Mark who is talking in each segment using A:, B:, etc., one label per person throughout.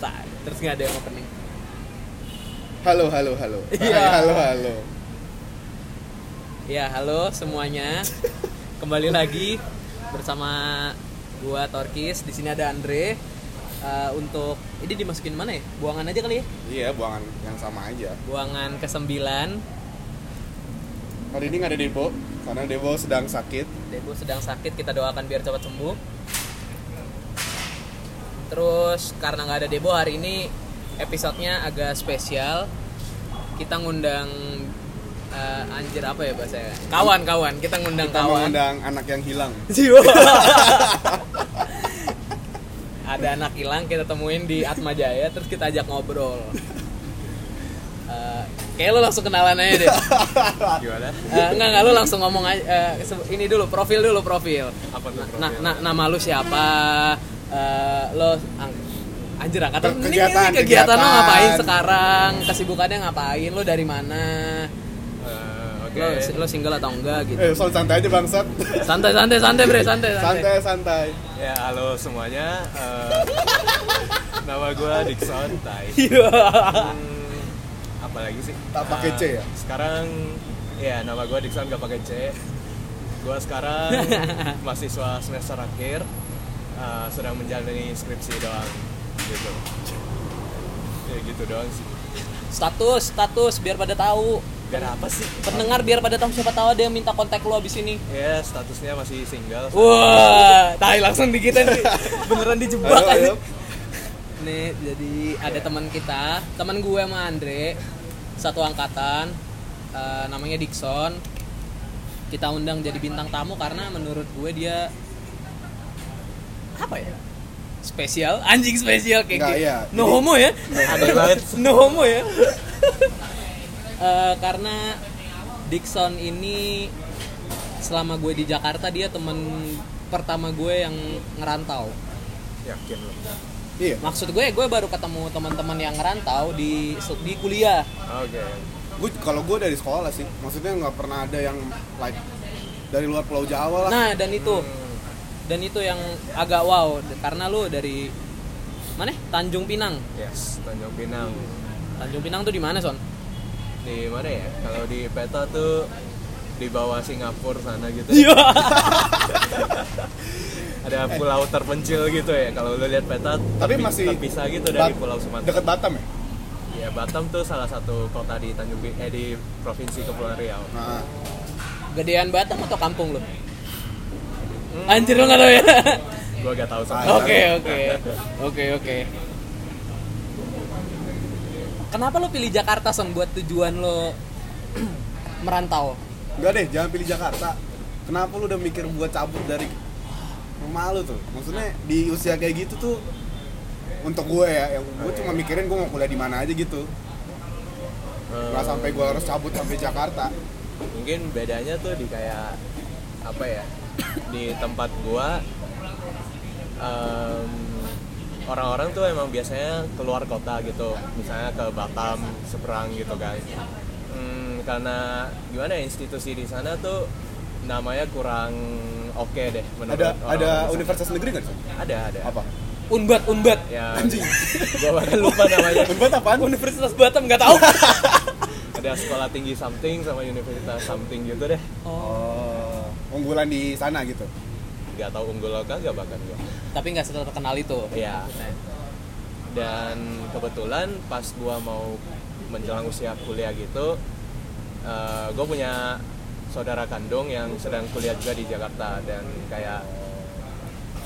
A: Tak, terus nggak ada yang opening.
B: Halo, halo, halo. Hai,
A: Iya.
B: halo, halo.
A: Ya, halo semuanya. Kembali lagi bersama gua Torkis. Di sini ada Andre. Eh, untuk ini dimasukin mana ya? Buangan aja kali ya.
B: Iya, buangan yang sama aja.
A: Buangan ke-9.
B: Hari ini nggak ada Debo, karena Debo sedang sakit.
A: Debu sedang sakit, kita doakan biar cepat sembuh. Terus karena nggak ada Debo hari ini episodenya agak spesial. Kita ngundang eh, anjir apa ya bahasanya? Kawan-kawan, kita ngundang
B: Kita
A: kawan.
B: mengundang anak yang hilang.
A: Jiwa. Ada anak hilang kita temuin di Atma Jaya terus kita ajak ngobrol. Eh, kayak lo langsung kenalan aja deh.
C: Gimana?
A: Eh, enggak enggak lo langsung ngomong aja eh, se- ini dulu profil dulu profil.
C: Apa tuh profil?
A: Nah, nah nama lu siapa? Eh, lo ang- anjir angkatan
B: Ke-
A: ini-
B: kegiatan,
A: ini kegiatan lo
B: kegiatan.
A: ngapain sekarang? Kesibukannya ngapain? Lo dari mana?
C: Eh, Oke.
A: Lo lo single atau enggak gitu.
B: Eh, soal santai aja bangsat.
A: Santai santai santai bre, santai santai.
B: Santai, santai.
C: Ya, halo semuanya. Eh, nama gua Dixon Tai.
A: Iya.
C: Hmm, apalagi sih?
B: Tak pakai
C: Eh,
B: C ya?
C: Sekarang ya nama gua Dixon gak pakai C. Gua sekarang mahasiswa semester akhir eh, sedang menjalani skripsi doang gitu. Ya gitu doang sih.
A: status status biar pada tahu
C: Dan apa sih?
A: pendengar biar pada tahu siapa tahu ada yang minta kontak lo abis ini
C: Ya, statusnya masih single.
A: Oh. wah tai langsung dikitain beneran dijebak
B: Halo,
A: aja
B: halo.
A: nih jadi ada teman kita teman gue sama Andre satu angkatan eh, namanya Dixon kita undang jadi bintang tamu karena menurut gue dia apa ya spesial anjing spesial kayak
B: Nggak,
A: gitu
B: iya.
A: no
B: Jadi-
A: homo ya
C: Aneh banget.
A: no homo ya Eh, karena Dixon ini selama gue di Jakarta dia temen pertama gue yang ngerantau
C: Yakin lo.
B: Iya.
A: maksud gue gue baru ketemu teman-teman yang ngerantau di di kuliah
C: Oke.
B: Gue kalau gue dari sekolah sih, maksudnya nggak pernah ada yang like dari luar Pulau Jawa lah.
A: nah dan itu dan itu yang agak wow karena lu dari mana Tanjung Pinang
C: Yes, Tanjung Pinang.
A: Tanjung Pinang tuh di mana son
C: Di mana ya? Kalau di peta tuh di bawah Singapura sana gitu.
B: Iya.
C: Ada pulau terpencil gitu ya. Kalau lu lihat peta
B: Tapi
C: terpi-
B: masih
C: terpisah gitu
B: Bat-
C: dari pulau Sumatera.
B: Deket Batam ya?
C: Ya Batam tuh salah satu kota di Tanjung Pi- eh di provinsi Kepulauan Riau.
B: Nah,
A: gedean Batam atau kampung lu anjir lu nggak tahu ya
C: Gua gak tahu
B: Ah, iya.
C: sama. Eh,
A: Oke oke oke oke. Kenapa lo pilih Jakarta son buat tujuan lo merantau?
B: Enggak deh, jangan pilih Jakarta. Kenapa lu udah mikir buat cabut dari rumah lu tuh? Maksudnya di usia kayak gitu tuh untuk gue ya, yang gue cuma mikirin gue mau kuliah di mana aja gitu.
C: Eh,
B: Nggak sampai gue harus cabut sampai Jakarta.
C: mungkin bedanya tuh di kayak apa ya di tempat gua em, orang-orang tuh emang biasanya keluar kota gitu misalnya ke Batam Seberang gitu kan Hmm, karena gimana ya, institusi di sana tuh namanya kurang oke deh menurut
B: Ada
C: orang-orang Ya.
B: ada
C: di sana.
B: universitas negeri nggak? di sana?
C: ada ada
B: Apa?
A: Unbat unbat.
C: ya
B: Anjing.
C: gua bahkan lupa namanya
B: Buat apaan?
A: Universitas Batam nggak tahu.
C: ada sekolah tinggi something sama universitas something gitu deh
B: Oh, unggulan di sana gitu.
C: nggak tahu unggul atau nggak bahkan gua
A: Tapi nggak terkenal itu.
C: Iya. Dan kebetulan pas gua mau menjelang usia kuliah gitu, eh gua punya saudara kandung yang sedang kuliah juga di Jakarta dan kayak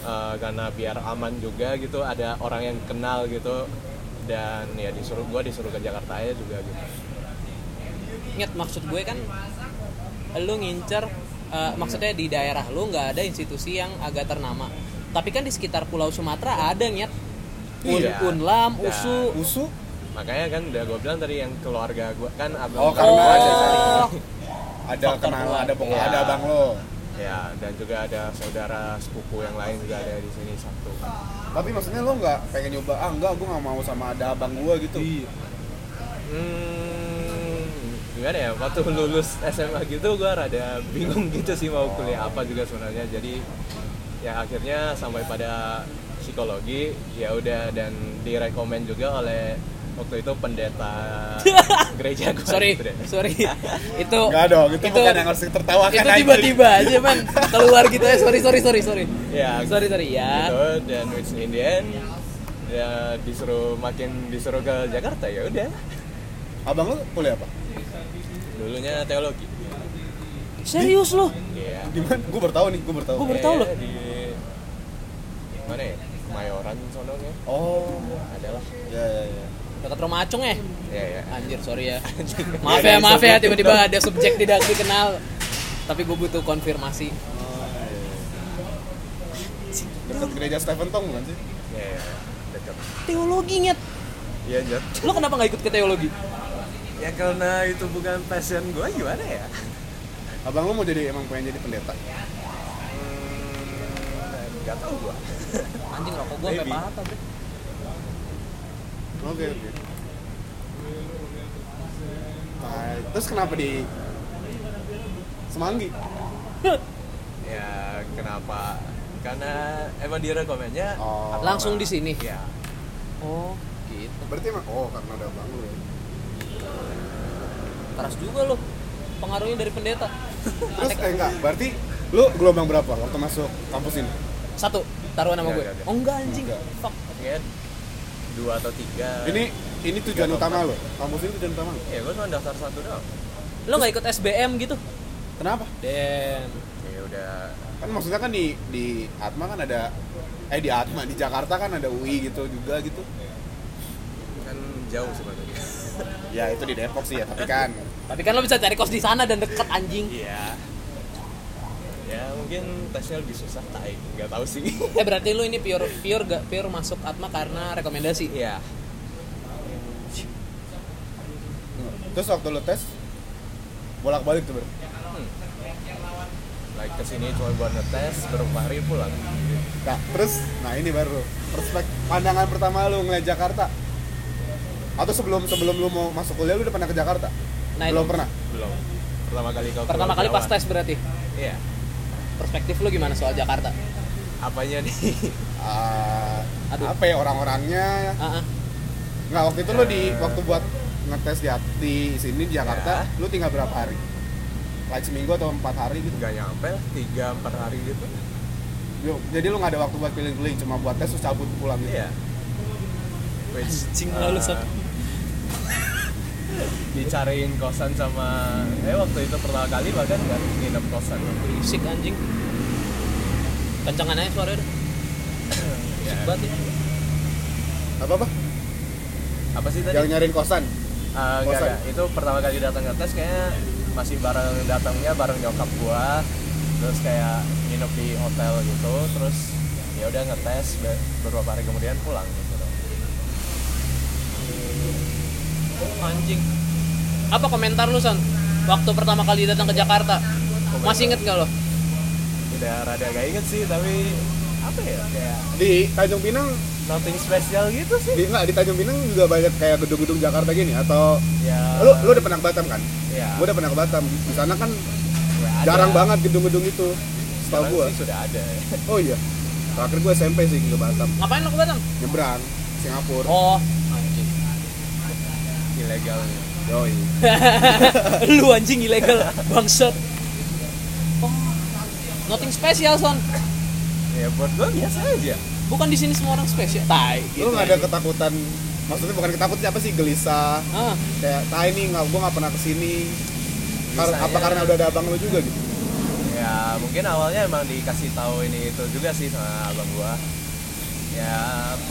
C: eh, karena biar aman juga gitu ada orang yang kenal gitu dan ya disuruh gua disuruh ke Jakarta aja juga gitu.
A: Ingat maksud gue kan lo ngincer eh, maksudnya di daerah lo nggak ada institusi yang agak ternama. Tapi kan di sekitar Pulau Sumatera ada nyet. Un,
C: Iya.
A: Unlam,
C: Dan-
A: USU.
B: Usu?
C: Makanya kan udah gue bilang tadi yang keluarga gua kan
B: Oh,
C: abang
B: karena ada
A: Oh.
B: Ada
A: Faktor
B: kenal,
A: keluarga.
B: ada pokok,
C: Iya.
B: ada abang lo.
C: ya dan juga ada saudara sepupu yang lain juga ada di sini satu.
B: Tapi maksudnya lo nggak pengen nyoba? Ah, enggak, gue nggak mau sama ada abang gue gitu.
C: Hmm, gimana ya waktu lulus SMA gitu gue rada bingung gitu sih mau kuliah apa juga sebenarnya jadi ya akhirnya sampai pada psikologi ya udah dan direkomend juga oleh waktu itu pendeta gereja gua
A: sorry
C: gitu deh.
A: sorry itu
B: Enggak dong, itu, bukan yang harus ditertawakan
A: itu
B: anjing.
A: tiba-tiba aja man keluar gitu ya sorry sorry sorry sorry
C: ya
A: sorry sorry ya
C: gitu dan which in the end ya disuruh makin disuruh ke Jakarta ya udah
B: Abang lu kuliah apa?
C: dulunya teologi
A: serius loh
C: Iya.
B: Di mana? Gue bertahu nih, gue bertahu.
A: Gua ber- baru tahu
C: Iya,
A: loh.
C: di mana ya Kemayoran sononya
B: Oh,
C: adalah
B: ya ya ya.
A: dekat rumah acung ya
C: ya ya
A: anjir sorry ya maaf ya maaf ya tiba-tiba ada subjek tidak dikenal tapi gue butuh konfirmasi
B: Dekat gereja Stephen Tong bukan sih?
C: ya, ya. dekat
A: teologinya
C: iya Jod.
A: lo kenapa nggak ikut ke teologi
C: ya karena itu bukan passion gue gimana ya
B: Abang lu mau jadi emang pengen jadi pendeta?
C: Hmm, nggak tahu gue
A: anjing rokok gue sampai
C: Maybe. Oh,
A: patah bro.
B: Oke oke. Nah, terus kenapa di Semanggi?
C: ya kenapa karena emang direkomendnya
B: Oh.
A: langsung di sini
C: ya
A: oh gitu
B: Berarti emang oh karena ada abang lu ya.
A: keras juga lo pengaruhnya dari pendeta
B: Terus eh, enggak, berarti lu gelombang berapa waktu masuk kampus ini?
A: satu taruhan sama
C: Enggak,
A: gue
C: enggak, enggak.
A: oh enggak anjing
B: Enggak.
A: fuck
C: ya dua atau tiga
B: Ini ini tujuan
C: Tiga atau
B: utama lo. Kampus ini tujuan utama lo.
C: ya gue cuma daftar satu doang
A: lo nggak ikut SBM gitu
B: Kenapa?
A: damn
C: ya udah
B: Kan maksudnya kan di di Atma kan ada eh di Atma di Jakarta kan ada UI gitu juga gitu.
C: kan jauh sebenarnya
B: Ya itu di Depok sih ya, tapi kan
A: tapi kan lo bisa cari kos di sana dan deket anjing
C: iya ya mungkin tesnya lebih susah tai nggak tahu sih
A: eh berarti lo ini pure pure gak pure masuk Atma karena rekomendasi
C: iya
B: terus waktu lo tes bolak-balik tuh ber.
C: like kesini cuma buat ngetes beberapa hari pulang
B: Nah, terus nah ini baru perspek pandangan pertama lu ngeliat Jakarta. Atau sebelum sebelum lu mau masuk kuliah lu udah pernah ke Jakarta?
A: Nah,
B: Belum
A: itu.
B: pernah.
C: belum pertama kali kau
A: pertama
C: keluar
A: kali
C: Jawa.
A: pas tes berarti
C: iya
A: perspektif lo gimana soal Jakarta
C: apanya nih
B: Ah,
A: Aduh.
B: apa ya orang-orangnya?
A: Ah, ah.
B: Nggak waktu itu lu di waktu buat ngetes di di sini di Jakarta,
A: Ya.
B: lu tinggal berapa hari? Like seminggu atau empat hari gitu?
C: nggak nyampe lah, tiga empat hari gitu
B: Yo, Jadi lu nggak ada waktu buat keliling-keliling, cuma buat tes terus cabut pulang gitu.
C: iya which
A: Anjing,
C: eh,
A: lalu satu.
C: dicariin kosan sama eh waktu itu pertama kali bahkan nggak nginep kosan
A: berisik anjing kencangan aja suaranya dah.
C: ya.
B: Iya.
A: berisik banget ya
B: Apa apa?
C: apa sih tadi
B: Yang nyariin kosan.
C: Eh, enggak,
B: Kosan.
C: enggak. itu pertama kali datang ngetes kayaknya masih bareng datangnya bareng nyokap gua terus kayak nginep di hotel gitu terus ya udah ngetes be- beberapa hari kemudian pulang gitu dong.
A: Oh, anjing apa komentar lu son waktu pertama kali datang ke Jakarta masih inget gak lo
C: udah rada gak inget sih tapi apa ya kayak
B: Di Tanjung Pinang,
C: nothing special gitu sih
B: di nggak, di Tanjung Pinang juga banyak kayak gedung-gedung Jakarta gini atau
C: ya
B: lu lu udah pernah ke Batam kan?
C: ya,
B: Gue udah pernah ke Batam. Di sana kan
C: ya ada.
B: jarang banget gedung-gedung itu. Setahu
C: Sekarang
B: gua.
C: sih sudah ada ya.
B: Oh iya. Terakhir gue SMP sih ke Batam.
A: ngapain lo ke Batam
B: Nyebrang Singapura.
A: oh anjing
C: ilegal
B: Yoi.
A: lu anjing ilegal bangsat oh, nothing spesial son
C: ya buat gua biasa aja
A: bukan di sini semua orang spesial tai gitu
B: Lu nggak
C: ya.
B: ada ketakutan? Maksudnya bukan ketakutan apa sih gelisah?
A: ah,
B: Kayak tai nih nggak gue nggak pernah kesini. Kar-
C: Gelisah,
B: apa
C: ya.
B: karena udah ada abang lu juga gitu?
C: ya mungkin awalnya emang dikasih tahu ini itu juga sih sama abang gua ya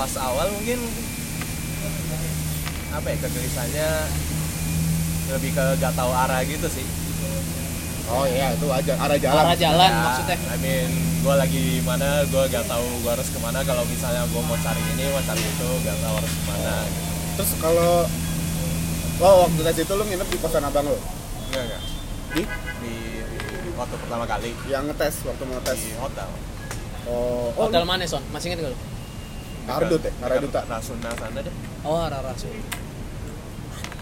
C: pas awal mungkin apa ya kegelisahannya lebih ke gak tahu arah gitu sih
B: Oh iya itu aja arah jalan.
A: arah jalan
C: Ya,
A: Kan, maksudnya
C: I mean gua lagi di mana gua gak tahu gua harus kemana kalau misalnya gua mau cari ini mau cari itu gak tahu harus kemana gitu.
B: Terus kalau Oh, waktu tes itu lu nginep di kosan abang lu?
C: enggak enggak
B: Di?
C: di, di waktu pertama kali
B: Yang ngetes, waktu mau ngetes
C: di hotel
B: Oh, oh
A: hotel mana son masih inget gak lo
B: Kardut ya? Karaduta?
C: Dekat Rasuna sana deh
A: oh arah arah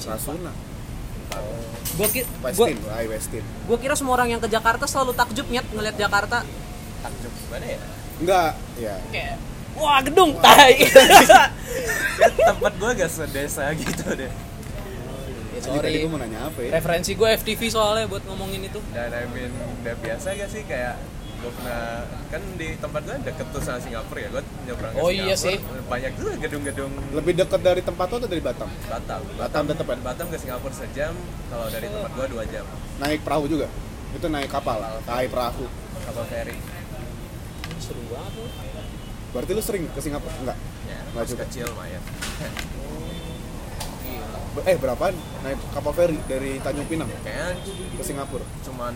B: Rasuna
A: gue ki gua,
B: Nah, Westin, Lai Westin
A: gua kira semua orang yang ke Jakarta selalu takjub nyet ngeliat Jakarta
C: takjub gimana ya
B: Enggak, ya
A: kayak wah gedung tai
C: Ya, tempat gue gak sedesa gitu deh
A: Ya,
B: Tadi, tadi
A: sorry
B: gue mau nanya apa ya?
A: referensi gue FTV soalnya buat ngomongin itu
C: dan I mean udah biasa gak sih kayak gue pernah kan di tempat gue deket tuh sama Singapura ya gue nyebrang ke
A: Oh,
C: Singapura
A: iya sih.
C: banyak tuh gedung-gedung
B: Lebih dekat dari tempat lo atau dari Batam?
C: Batam
B: Batam tetap ya.
C: Batam ke Singapura sejam kalau dari tempat gue dua jam
B: Naik perahu juga. Itu naik kapal, naik perahu.
C: kapal feri
A: seru banget lu.
B: Berarti lu sering ke Singapura? Enggak.
C: ya
B: Nggak
C: masih
B: juga.
C: kecil mah ya
A: Gila.
B: Be- Eh, berapaan naik kapal feri dari Tanjung Pinang
C: kayaknya
B: ke Singapura?
C: cuman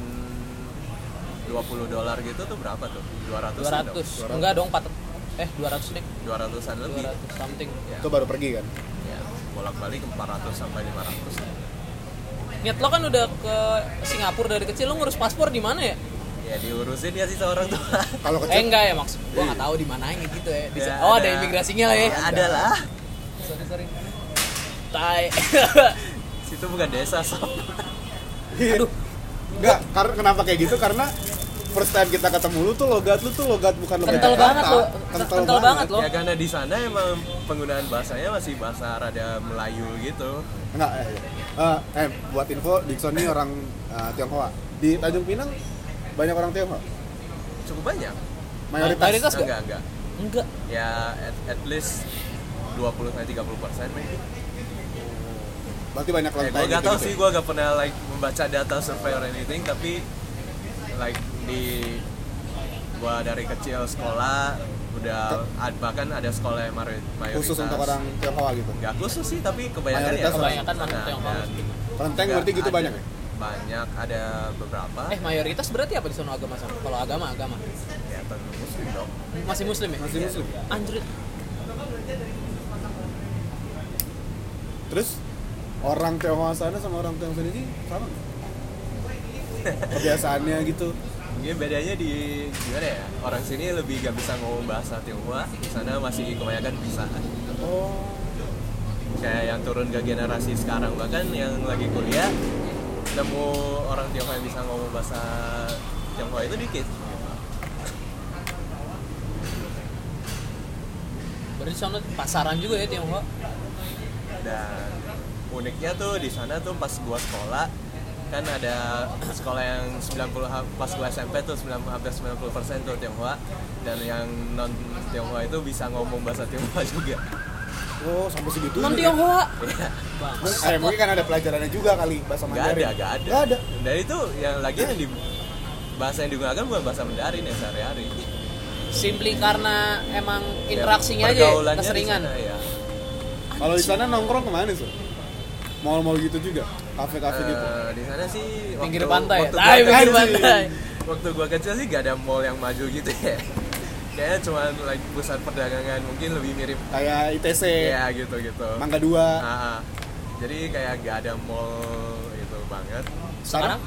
C: 20 dolar gitu tuh berapa tuh 200
A: 200 enggak dong 4 eh 200 deh
C: 200an lebih
A: 200 something
C: Ya.
B: Itu baru pergi kan?
C: ya bolak-balik 400 sampai 500
A: Niat lo kan udah ke Singapura dari kecil lo ngurus paspor di mana ya?
C: ya diurusin ya sih seorang tua
B: Kalau
A: Eh
B: kecil
A: enggak ya maksud gua enggak tahu di mananya gitu ya. Di-
B: Iya,
C: Ya,
A: oh ada
C: ada.
A: imigrasinya lah ya.
C: Ya, ada lah
A: Sorry sorry. Tai.
C: situ bukan desa sob
A: Aduh,
B: Enggak, karena kenapa kayak gitu? Karena first time kita ketemu lu tuh logat lu tuh logat bukan logat
A: Kental
B: Jakarta.
A: banget lo.
B: Kental,
A: Kental
B: banget.
A: banget lo.
C: ya karena di sana emang penggunaan bahasanya masih bahasa rada Melayu gitu
B: Enggak, eh, eh, eh, buat info Dixon ini orang eh, Tionghoa. Di Tanjung Pinang banyak orang Tionghoa.
C: cukup banyak
B: Mayoritas.
A: Mayoritas. Terus
C: enggak enggak
A: enggak.
C: ya at, at least 20 sampai 30 persen maybe.
B: Berarti banyak
C: Eh,
B: lantai
C: gue gak tau
B: gitu-gitu
C: sih,
B: ya.
C: gue gak pernah like membaca data survei or anything, tapi like di gue dari kecil sekolah udah ad- bahkan ada sekolah yang mayori- mayoritas
B: khusus untuk orang Tionghoa gitu.
C: nggak khusus sih tapi kebanyakan
B: Mayoritas
C: ya
A: Kebanyakan
C: orang
A: anak
C: sana.
A: Tionghoa.
C: Dan
B: Kelenteng
C: nggak
B: berarti gitu
C: ada-
B: banyak ya?
C: banyak ada beberapa
A: Eh mayoritas berarti apa di sono agama sama? Kalau agama agama.
C: ya tentu muslim dong
A: Masih muslim ya?
B: Masih muslim.
A: Anjrit.
B: Terus orang Tionghoa sana sama orang Tionghoa sini sih sama nggak? Kebiasaannya gitu.
C: Ya bedanya di gimana ya? Orang sini lebih gak bisa ngomong bahasa Tionghoa, di sana masih kebanyakan bisa.
B: Oh.
C: Kayak yang turun ke generasi sekarang bahkan yang lagi kuliah nemu orang Tionghoa yang bisa ngomong bahasa Tionghoa itu dikit.
A: Berarti di sono pasaran juga ya Tionghoa.
C: Dan uniknya tuh di sana tuh pas gua sekolah kan ada sekolah yang 90 ha- pas gua SMP tuh 90, hampir 90% tuh Tionghoa dan yang non Tionghoa itu bisa ngomong bahasa Tionghoa juga.
B: Oh, sampai segitu.
A: Non Tionghoa.
C: Iya.
A: Bangsat.
B: Eh, mungkin kan ada pelajarannya juga kali bahasa
C: Gak
B: Mandarin.
C: ada, gak ada.
B: Nggak ada.
C: Dan itu yang lagi yang di bahasa yang digunakan bukan bahasa Mandarin ya sehari-hari.
A: Simply karena emang
C: Ya,
A: interaksinya aja ya,
C: pergaulannya di
A: keseringan.
C: sana, ya.
B: Kalau di sana nongkrong kemana sih? Mall-mall gitu juga, kafe-kafe
C: Eh,
B: gitu.
C: di sana sih
A: Pinggir
C: waktu-
A: pantai ya.
C: Waktu,
A: Tai
C: gua,
A: pinggir
B: Anjing.
A: pantai.
C: waktu gua kecil sih gak ada mall yang maju gitu ya. Kayaknya cuma like pusat perdagangan mungkin lebih mirip
B: Kayak ITC,
C: ya gitu-gitu.
B: Mangga Dua.
C: Ah, ah. jadi kayak gak ada mall itu banget.
A: Sekarang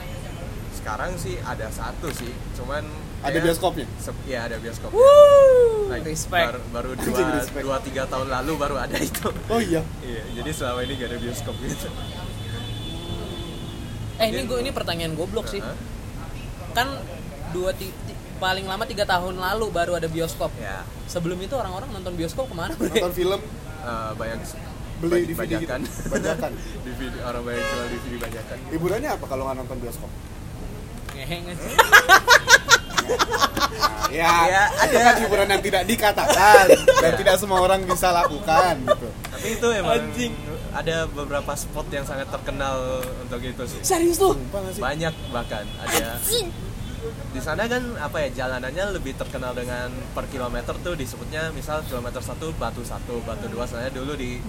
C: Sekarang sih ada satu sih, cuman
B: Ada
C: kayak-
B: bioskopnya.
C: Sep- ya ada bioskop.
A: Wuh,
C: Like,
A: respect.
C: Baru, baru
B: Anjing,
C: dua,
B: respect.
C: dua tiga tahun lalu baru ada itu.
B: Oh iya.
C: iya, jadi selama ini gak ada bioskop gitu.
A: Eh ini gue ini pertanyaan goblok sih.
C: Hah?
A: Kan dua ti- ti- paling lama tiga tahun lalu baru ada bioskop.
C: Ya,
A: Sebelum itu orang-orang nonton bioskop kemana?
B: Nonton film,
C: eh, banyak
B: beli
C: banyak-
B: DVD gitu.
C: bajakan.
B: Bajakan.
C: DVD orang banyak kan. jual DVD bajakan.
B: Hiburannya apa kalau nggak nonton bioskop?
A: Ngeheng aja.
B: Ya,
C: Ya,
B: itu kan hiburan yang tidak dikatakan dan tidak semua orang bisa lakukan gitu.
C: Tapi itu emang
A: Anjing.
C: ada beberapa spot yang sangat terkenal untuk itu sih.
A: Serius lu?
B: Sumpah nggak sih?
C: Banyak bahkan ada di sana kan apa ya jalanannya lebih terkenal dengan per kilometer tuh disebutnya misal kilometer satu batu satu batu dua soalnya dulu di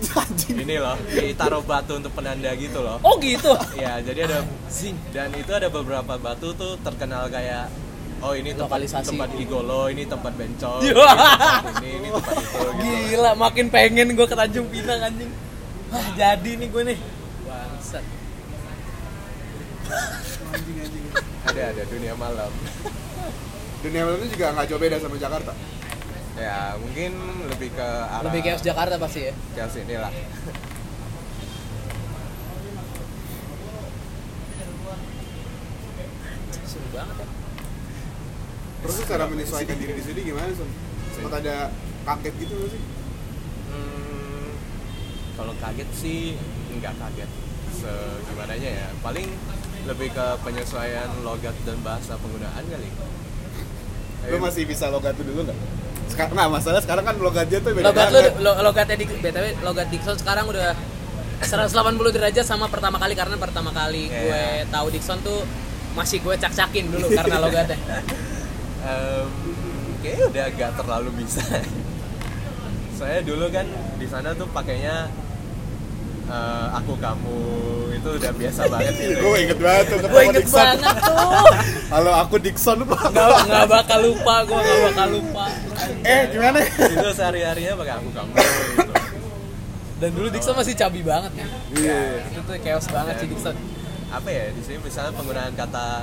C: ini loh ditaruh batu untuk penanda gitu loh
A: Oh gitu.
C: ya jadi ada dan itu ada beberapa batu tuh terkenal kayak oh ini tempat
A: Lokalisasi.
C: tempat gigolo ini tempat bencong ini
A: Iya.
C: tempat ini ini tempat itu gitu loh.
A: Gila, makin pengen gue ke Tanjung Pinang anjing. Wah, jadi nih gue nih. Bangsat.
C: ada ada dunia malam
B: Dunia malam itu juga nggak jauh beda sama Jakarta.
C: ya mungkin lebih ke arah
A: Lebih chaos Jakarta pasti ya.
C: chaos inilah
A: Seru banget ya. ya.
B: Terus lu cara menyesuaikan diri di sini gimana sih? sempat ada kaget gitu nggak sih
C: Hmm, kalau kaget sih nggak kaget segimananya ya paling lebih ke penyesuaian logat dan bahasa penggunaan kali
B: lu
A: Iya.
C: Eh,
B: masih bisa logat itu dulu nggak sekarang nah masalah sekarang kan logatnya tuh beda
A: logat lu
B: banget
A: lo- logatnya di BTW logat Dixon sekarang udah 180 derajat sama pertama kali karena pertama kali
C: Iya.
A: gue tahu Dixon tuh masih gue cak-cakin dulu karena logatnya
C: Em, kayaknya udah agak terlalu bisa. Saya dulu kan di sana tuh pakainya eh, aku kamu itu udah biasa banget
B: Ih,
C: gitu.
B: gue inget banget tuh
A: gue
B: ketemu
A: inget
B: Dixon
A: banget tuh
B: halo aku Dixon lu Pak.
A: nggak nggak bakal lupa gue nggak bakal lupa
B: eh gimana
A: Iya.
C: Itu sehari-harinya pakai aku kamu gitu.
A: dan dulu Dixon masih cabi banget kan
B: iya
A: itu tuh chaos banget sih
C: Dan
A: Dixon
C: Apa ya di sini misalnya penggunaan kata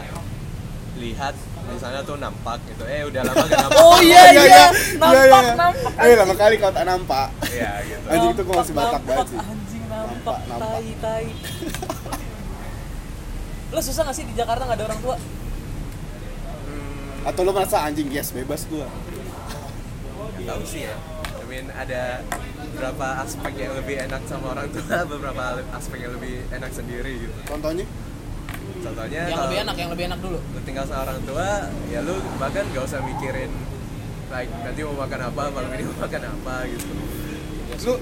C: lihat di sana tuh nampak gitu. Eh udah lama gak nampak.
A: oh iya
B: Iya,
A: iya
B: iya.
A: nampak
B: Iya, iya.
A: nampak
B: eh lama kali kau tak nampak
C: Iya gitu.
B: Anjing, itu gua masih
A: Nampak,
B: Batak banget sih.
A: nampak, Anjing nampak,
B: Nampak, nampak.
A: tai tai. Lo susah gak sih di Jakarta gak ada orang tua?
B: atau lu merasa anjing yes bebas gua
C: Gak tahu sih ya. I mean ada beberapa aspek yang lebih enak sama orang tua, beberapa aspek yang lebih enak sendiri gitu.
B: contohnya
C: Contohnya
A: yang
C: kalau
A: lebih enak, yang lebih enak dulu.
C: lu tinggal sama orang tua, ya lu bahkan gak usah mikirin like nanti mau makan apa, malam ini mau makan apa gitu.
B: lu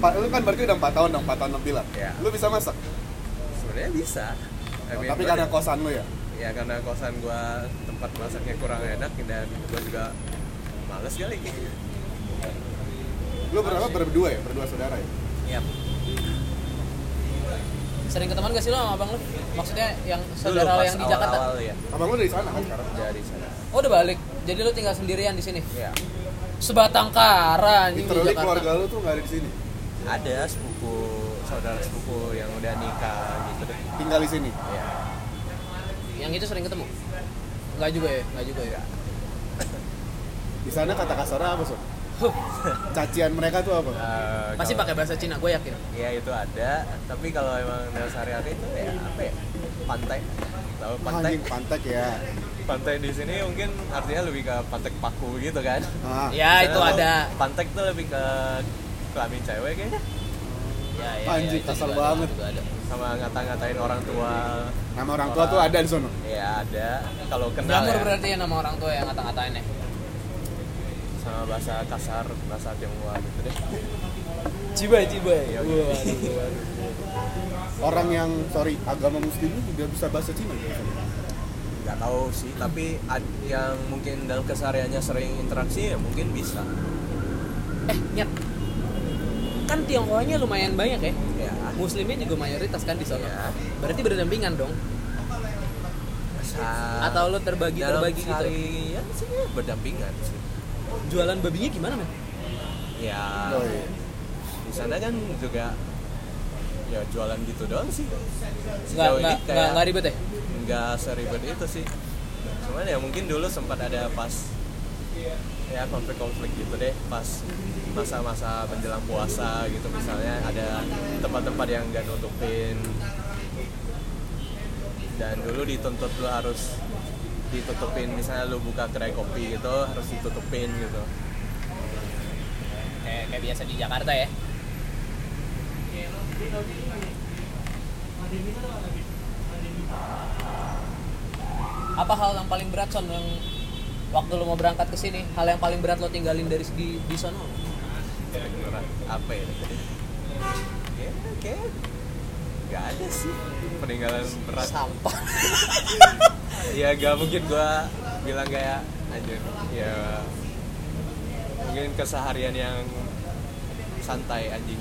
B: pa- lu kan berarti udah 4 tahun dong 4 tahun lebih lah
C: Iya.
B: lu bisa masak
A: Oh,
C: Sebenarnya bisa. I
A: iya,
C: mean,
B: tapi
C: gua-
B: karena kosan lu ya
C: ya karena kosan gua tempat masaknya kurang enak dan gua juga males kali.
B: lu berapa berdua ya berdua saudara ya
C: Yap.
A: Sering ketemuan gak sih lo sama abang lo? Maksudnya yang
C: Dulu
A: saudara lo
C: pas
A: yang di Jakarta?
C: awal-awal ya
B: abang lu dari sana kan sekarang
C: dari sana.
A: Oh udah balik. Jadi lo tinggal sendirian di sini.
C: Ya.
A: Sebatang kara anjing di
B: literally
A: Jakarta.
B: keluarga lu tuh nggak ada di sini
C: ada sepupu saudara sepupu yang udah nikah gitu deh
B: tinggal di sini
C: ya
A: Yang itu sering ketemu? Enggak juga ya, enggak juga ya.
B: di sana kata kasarnya apa sob
A: Huh,
B: cacian mereka tuh apa
C: Eh,
A: pasti
C: kalau-
A: pakai bahasa Cina, gue yakin.
C: ya itu ada tapi kalau emang dalam sehari-hari itu ya apa ya pantai tahu
B: Wah,
C: pantai
B: anjing pantek ya
C: pantai di sini mungkin artinya lebih ke pantek paku gitu kan
B: nah,
A: Ya itu
C: Kalau
A: ada.
C: pantek tuh lebih ke kelamin cewek kayaknya
A: Ya, ya,
B: Anjing,
A: itu
B: kasar
A: juga ada,
B: banget.
A: itu juga ada.
C: sama ngata-ngatain orang tua
B: nama orang tua tuh ada di sana
C: ya ada kalau kenal
A: Glamor
C: ya,
A: berarti ya nama orang tua yang ngata-ngatain ya.
C: sama bahasa kasar bahasa tionghoa gitu deh
A: Cibai, cibai.
C: Iya, iya.
A: Waduh.
B: orang yang sorry agama muslim itu juga bisa bahasa Cina gitu.
C: nggak tahu sih tapi ad- yang mungkin dalam kesehariannya sering interaksi ya mungkin bisa
A: Eh, nyet. Kan Tionghoanya lumayan banyak ya.
C: ya
A: Muslimnya juga mayoritas kan di sana.
C: Ya.
A: Berarti berdampingan dong.
C: sa-
A: Atau lu terbagi
C: dalam
A: terbagi gitu.
C: keseharian sih ya berdampingan sih
A: Jualan babinya gimana, men?
C: ya
B: Oh, iya.
C: di sana kan juga ya jualan gitu doang sih
A: Enggak
C: Sejauh ini
A: enggak
C: kayak
A: enggak ribet ya?
C: nggak seribet itu sih cuman ya mungkin dulu sempat ada pas ya konflik-konflik gitu deh pas masa-masa menjelang puasa gitu misalnya ada tempat-tempat yang nggak nutupin dan dulu dituntut lu harus ditutupin misalnya lu buka kedai kopi gitu harus ditutupin gitu
A: Kayak, kayak biasa di Jakarta ya. Apa hal yang paling berat son yang waktu lo mau berangkat ke sini? Hal yang paling berat lo tinggalin dari di di sono?
C: Beneran, apa ya ya kayak nggak ada sih peninggalan berat
A: Sampah.
C: ya gak mungkin gua bilang kayak anjir ya mungkin keseharian yang santai anjing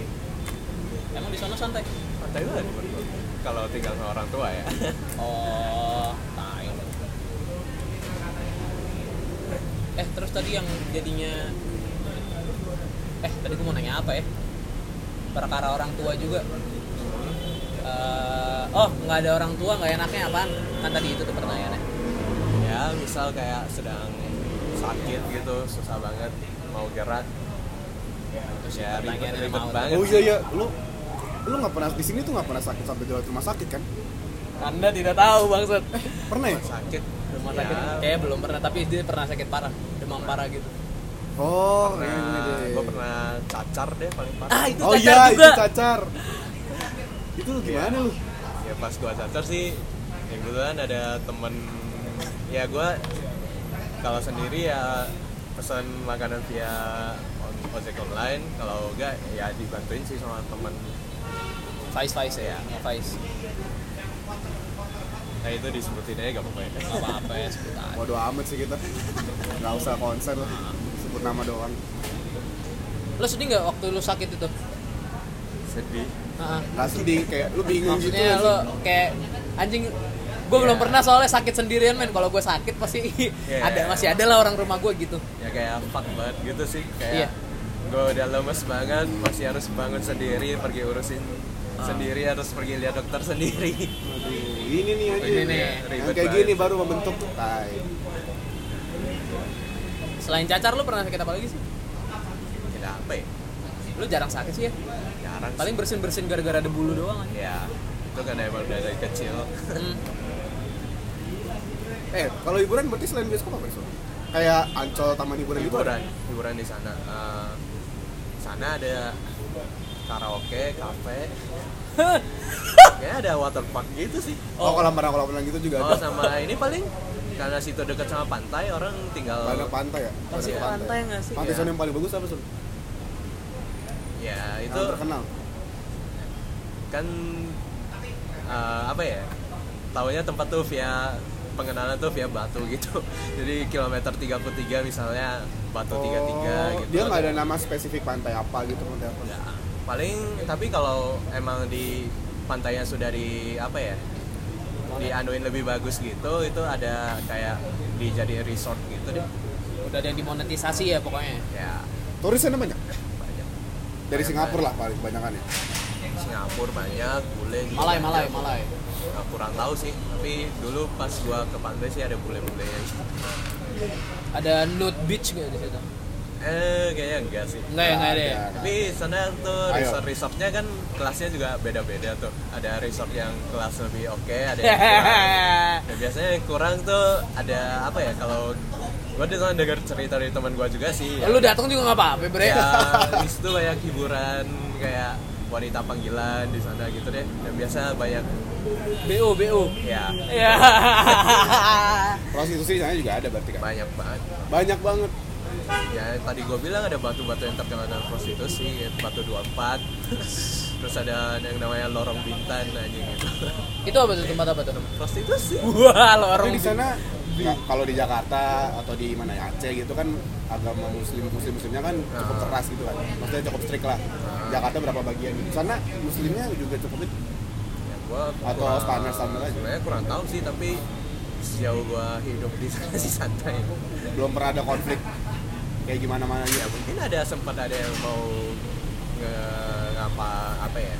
A: Emang di sono santai?
C: santai banget menurut gua. kalau tinggal sama orang tua ya
A: Oh, tai. Eh, terus tadi yang jadinya Eh, tadi gue mau nanya apa ya? Perkara orang tua juga. Eh, oh, nggak ada orang tua, nggak enaknya apaan? Kan tadi itu tuh pertanyaannya.
C: ya misal kayak sedang sakit gitu susah banget mau gerak terus ya ribet,
A: Pertanyaan yang
C: ribet
A: mau.
C: banget
B: oh iya iya lu lu nggak pernah di sini tuh nggak pernah sakit sampai dirawat rumah sakit kan
A: Anda tidak tahu, Bang Sud.
B: pernah ya
C: sakit
A: rumah sakit
C: Ya.
A: kayak belum pernah tapi dia pernah sakit parah demam parah gitu
B: Oh, ini
C: Nah,
B: deh.
C: gue pernah cacar deh paling parah.
A: ah itu
B: Oh
A: cacar
B: iya,
A: juga
B: itu cacar. itu lu gimana lu?
C: ya pas gua cacar sih ya kebetulan ada temen ya gua kalau sendiri ya pesan makanan via on- ojek online kalau enggak ya dibantuin sih sama temen
A: Faiz Faiz ya Faiz
C: nah itu disebutin aja gak apa-apa ya
A: Nggak apa-apa ya sebut aja
B: Waduh amat sih kita. Gak usah konser lah. Sebut nama doang.
A: lo sedih nggak waktu lo sakit itu
C: sedih
A: Ah, ah.
B: Gak sedih kayak lu bingung
A: maksudnya
B: gitu.
A: Iya, lo kayak anjing gue belum pernah soalnya sakit sendirian men kalau gue sakit pasti
C: Iya.
A: ada masih ada lah orang rumah gue gitu
C: ya kayak fuck banget gitu sih
A: Iya.
C: kayak gua udah lemes banget masih harus bangun sendiri pergi urusin
A: Ah.
C: sendiri harus pergi lihat dokter sendiri
B: Aduh, ini nih aja.
A: Ini nih,
B: Yang
C: ribet ya.
B: kayak
C: banget.
B: gini baru membentuk tai.
A: selain cacar lo pernah sakit apa lagi sih
C: tidak apa ya
A: lo jarang sakit sih ya
C: jarang
A: paling bersin bersin gara-gara ada bulu doang anjing.
C: sih. ya itu kan emang dari kecil
A: Hmm.
B: Eh, kalau hiburan berarti selain bioskop apa sih? Kayak ancol taman hiburan gitu. ada?
C: hiburan hiburan di sana Eh, sana ada karaoke kafe kayaknya ada water park gitu sih
B: Oh, kolam renang kolam renang gitu juga
C: oh
B: ada.
C: sama ini paling karena situ dekat sama pantai orang tinggal
B: Ada pantai ya?
A: Masih
B: Ada
A: pantai nggak sih?
B: Pantai
C: Iya.
B: Sun yang paling bagus apa Sun?
C: ya itu
B: Yang terkenal.
C: kan eh, apa ya tahunya tempat tuh via pengenalan tuh via batu gitu jadi kilometer 33 misalnya batu 33 gitu
B: Oh, Dia nggak ada nama spesifik pantai apa gitu pantai apa?
C: Ya, paling tapi kalau emang di pantainya sudah di apa ya dianuin lebih bagus gitu itu ada kayak dijadiin resort gitu deh
A: udah ada yang dimonetisasi ya pokoknya
C: ya
B: Turisnya banyak.
C: banyak
B: Dari Singapura lah paling kebanyakan
C: Eh,
B: ya.
C: Singapura banyak bule juga
A: Malai,
C: banyak.
A: Malai, Malai.
C: Nah, kurang tahu sih tapi dulu pas gua ke pantai sih ada bule-bule
A: Ada nude beach nggak di situ?
C: eh kayaknya enggak sih
A: Enggak ya, enggak ada. ya?
B: Ada.
C: tapi sana tuh
B: Ayo.
C: resort-resortnya kan kelasnya juga beda-beda tuh ada resort yang kelas lebih oke ada yang kurang Nah, biasanya yang kurang tuh ada apa ya kalau gue tuh kan denger cerita dari teman gue juga sih ya,
A: Lu datang juga nggak apa-apa, Bre.
C: ya di situ banyak hiburan kayak wanita panggilan di sana gitu deh dan biasa banyak
A: BO, BO.
C: ya
A: Ya.
B: Prostitusi di sana juga ada berarti kan.
C: banyak banget
B: Banyak banget.
C: ya tadi gue bilang ada batu-batu yang terkenal dengan prostitusi kayak batu 24 terus ada yang namanya lorong bintan anjing gitu
A: Itu apa tuh tempat apa tuh?
C: prostitusi
A: Wah,
B: Tapi
A: lorong.
B: di sana nggak- kalau di Jakarta atau di mana ya, Aceh gitu kan agama muslim muslim muslimnya kan cukup
C: Ah.
B: keras gitu kan. Maksudnya cukup strict lah. Jakarta berapa bagian? Di sana muslimnya juga cukup
C: ya, gua
B: Atau
C: kurang-
B: standar-standar aja.
C: sebenarnya kurang tahu sih tapi sejauh gue hidup di sana sih santai
B: belum pernah ada konflik kayak gimana mana
C: ya
B: gitu.
C: mungkin ada sempat ada yang mau nge ngapa apa ya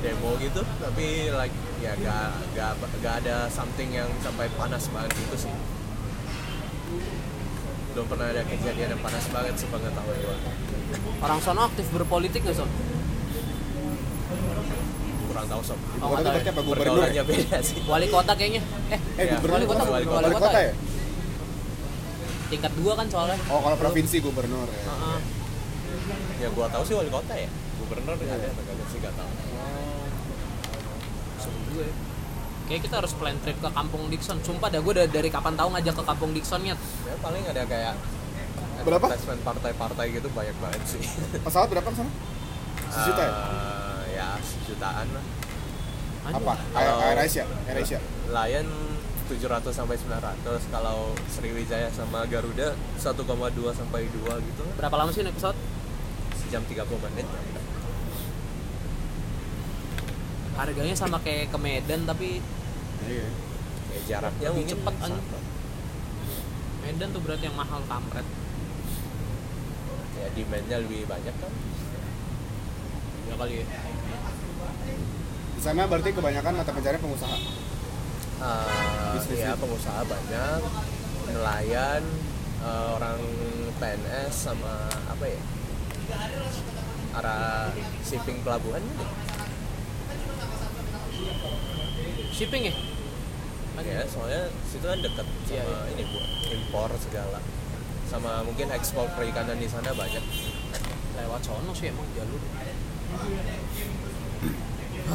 C: demo gitu tapi like ya gak, gak, gak ada something yang sampai panas banget gitu sih belum pernah ada kejadian yang panas banget sepengetahuan gue
A: Orang sono aktif berpolitik nggak, Son?
C: kurang tahu sob
B: Ibu
A: Oh,
B: kota
A: nggak
B: tempatnya apa gubernur?
C: pergaulannya
B: ya?
C: beda sih
A: Wali kota kayaknya. Eh,
B: Eh
C: Ya,
B: gubernur
A: wali kota,
B: wali
A: bukan
B: kota,
A: wali kota
B: ya?
A: tingkat dua kan soalnya.
B: Oh kalau provinsi gubernur ya.
A: Heeh.
C: ya gua tahu sih wali kota ya gubernur ada atau kagak sih gak tahu
A: gue Kayaknya kita harus plan trip ke Kampung Dixon. Sumpah dah gue dari kapan tahu ngajak ke Kampung Dixon nyet.
C: ya paling ada kayak
B: Berapa?
C: advertisement partai-partai gitu banyak banget sih
B: Pesawat berapa ke sana? Sejuta ya?
C: Eh, ya sejutaan lah
A: Anjing.
B: Apa? Air,
C: Kalau-
B: Air Asia, Air Asia.
C: Lion 700 sampai 900 kalau Sriwijaya sama Garuda 1,2 sampai 2 gitu lah.
A: Berapa lama sih naik pesawat?
C: sejam 30 menit
A: Harganya sama kayak ke Medan tapi
B: Iya.
C: ya, jaraknya
A: Lebih
C: mungkin
A: cepet,
C: sama.
A: anjing. Medan tuh berarti yang mahal kampret.
C: ya demandnya lebih banyak kan
A: Ya kali ya.
B: Di sana berarti kebanyakan mata pencarian pengusaha.
C: Eh,
B: Bisnis
C: ya
B: itu.
C: pengusaha banyak nelayan eh, orang PNS sama apa ya arah shipping pelabuhan gitu.
A: Shipping ya? Kan
B: Iya.
C: ya soalnya situ kan deket sama
A: Iya, iya.
C: ini gua impor segala sama mungkin ekspor perikanan di sana banyak
A: lewat sono sih emang jalur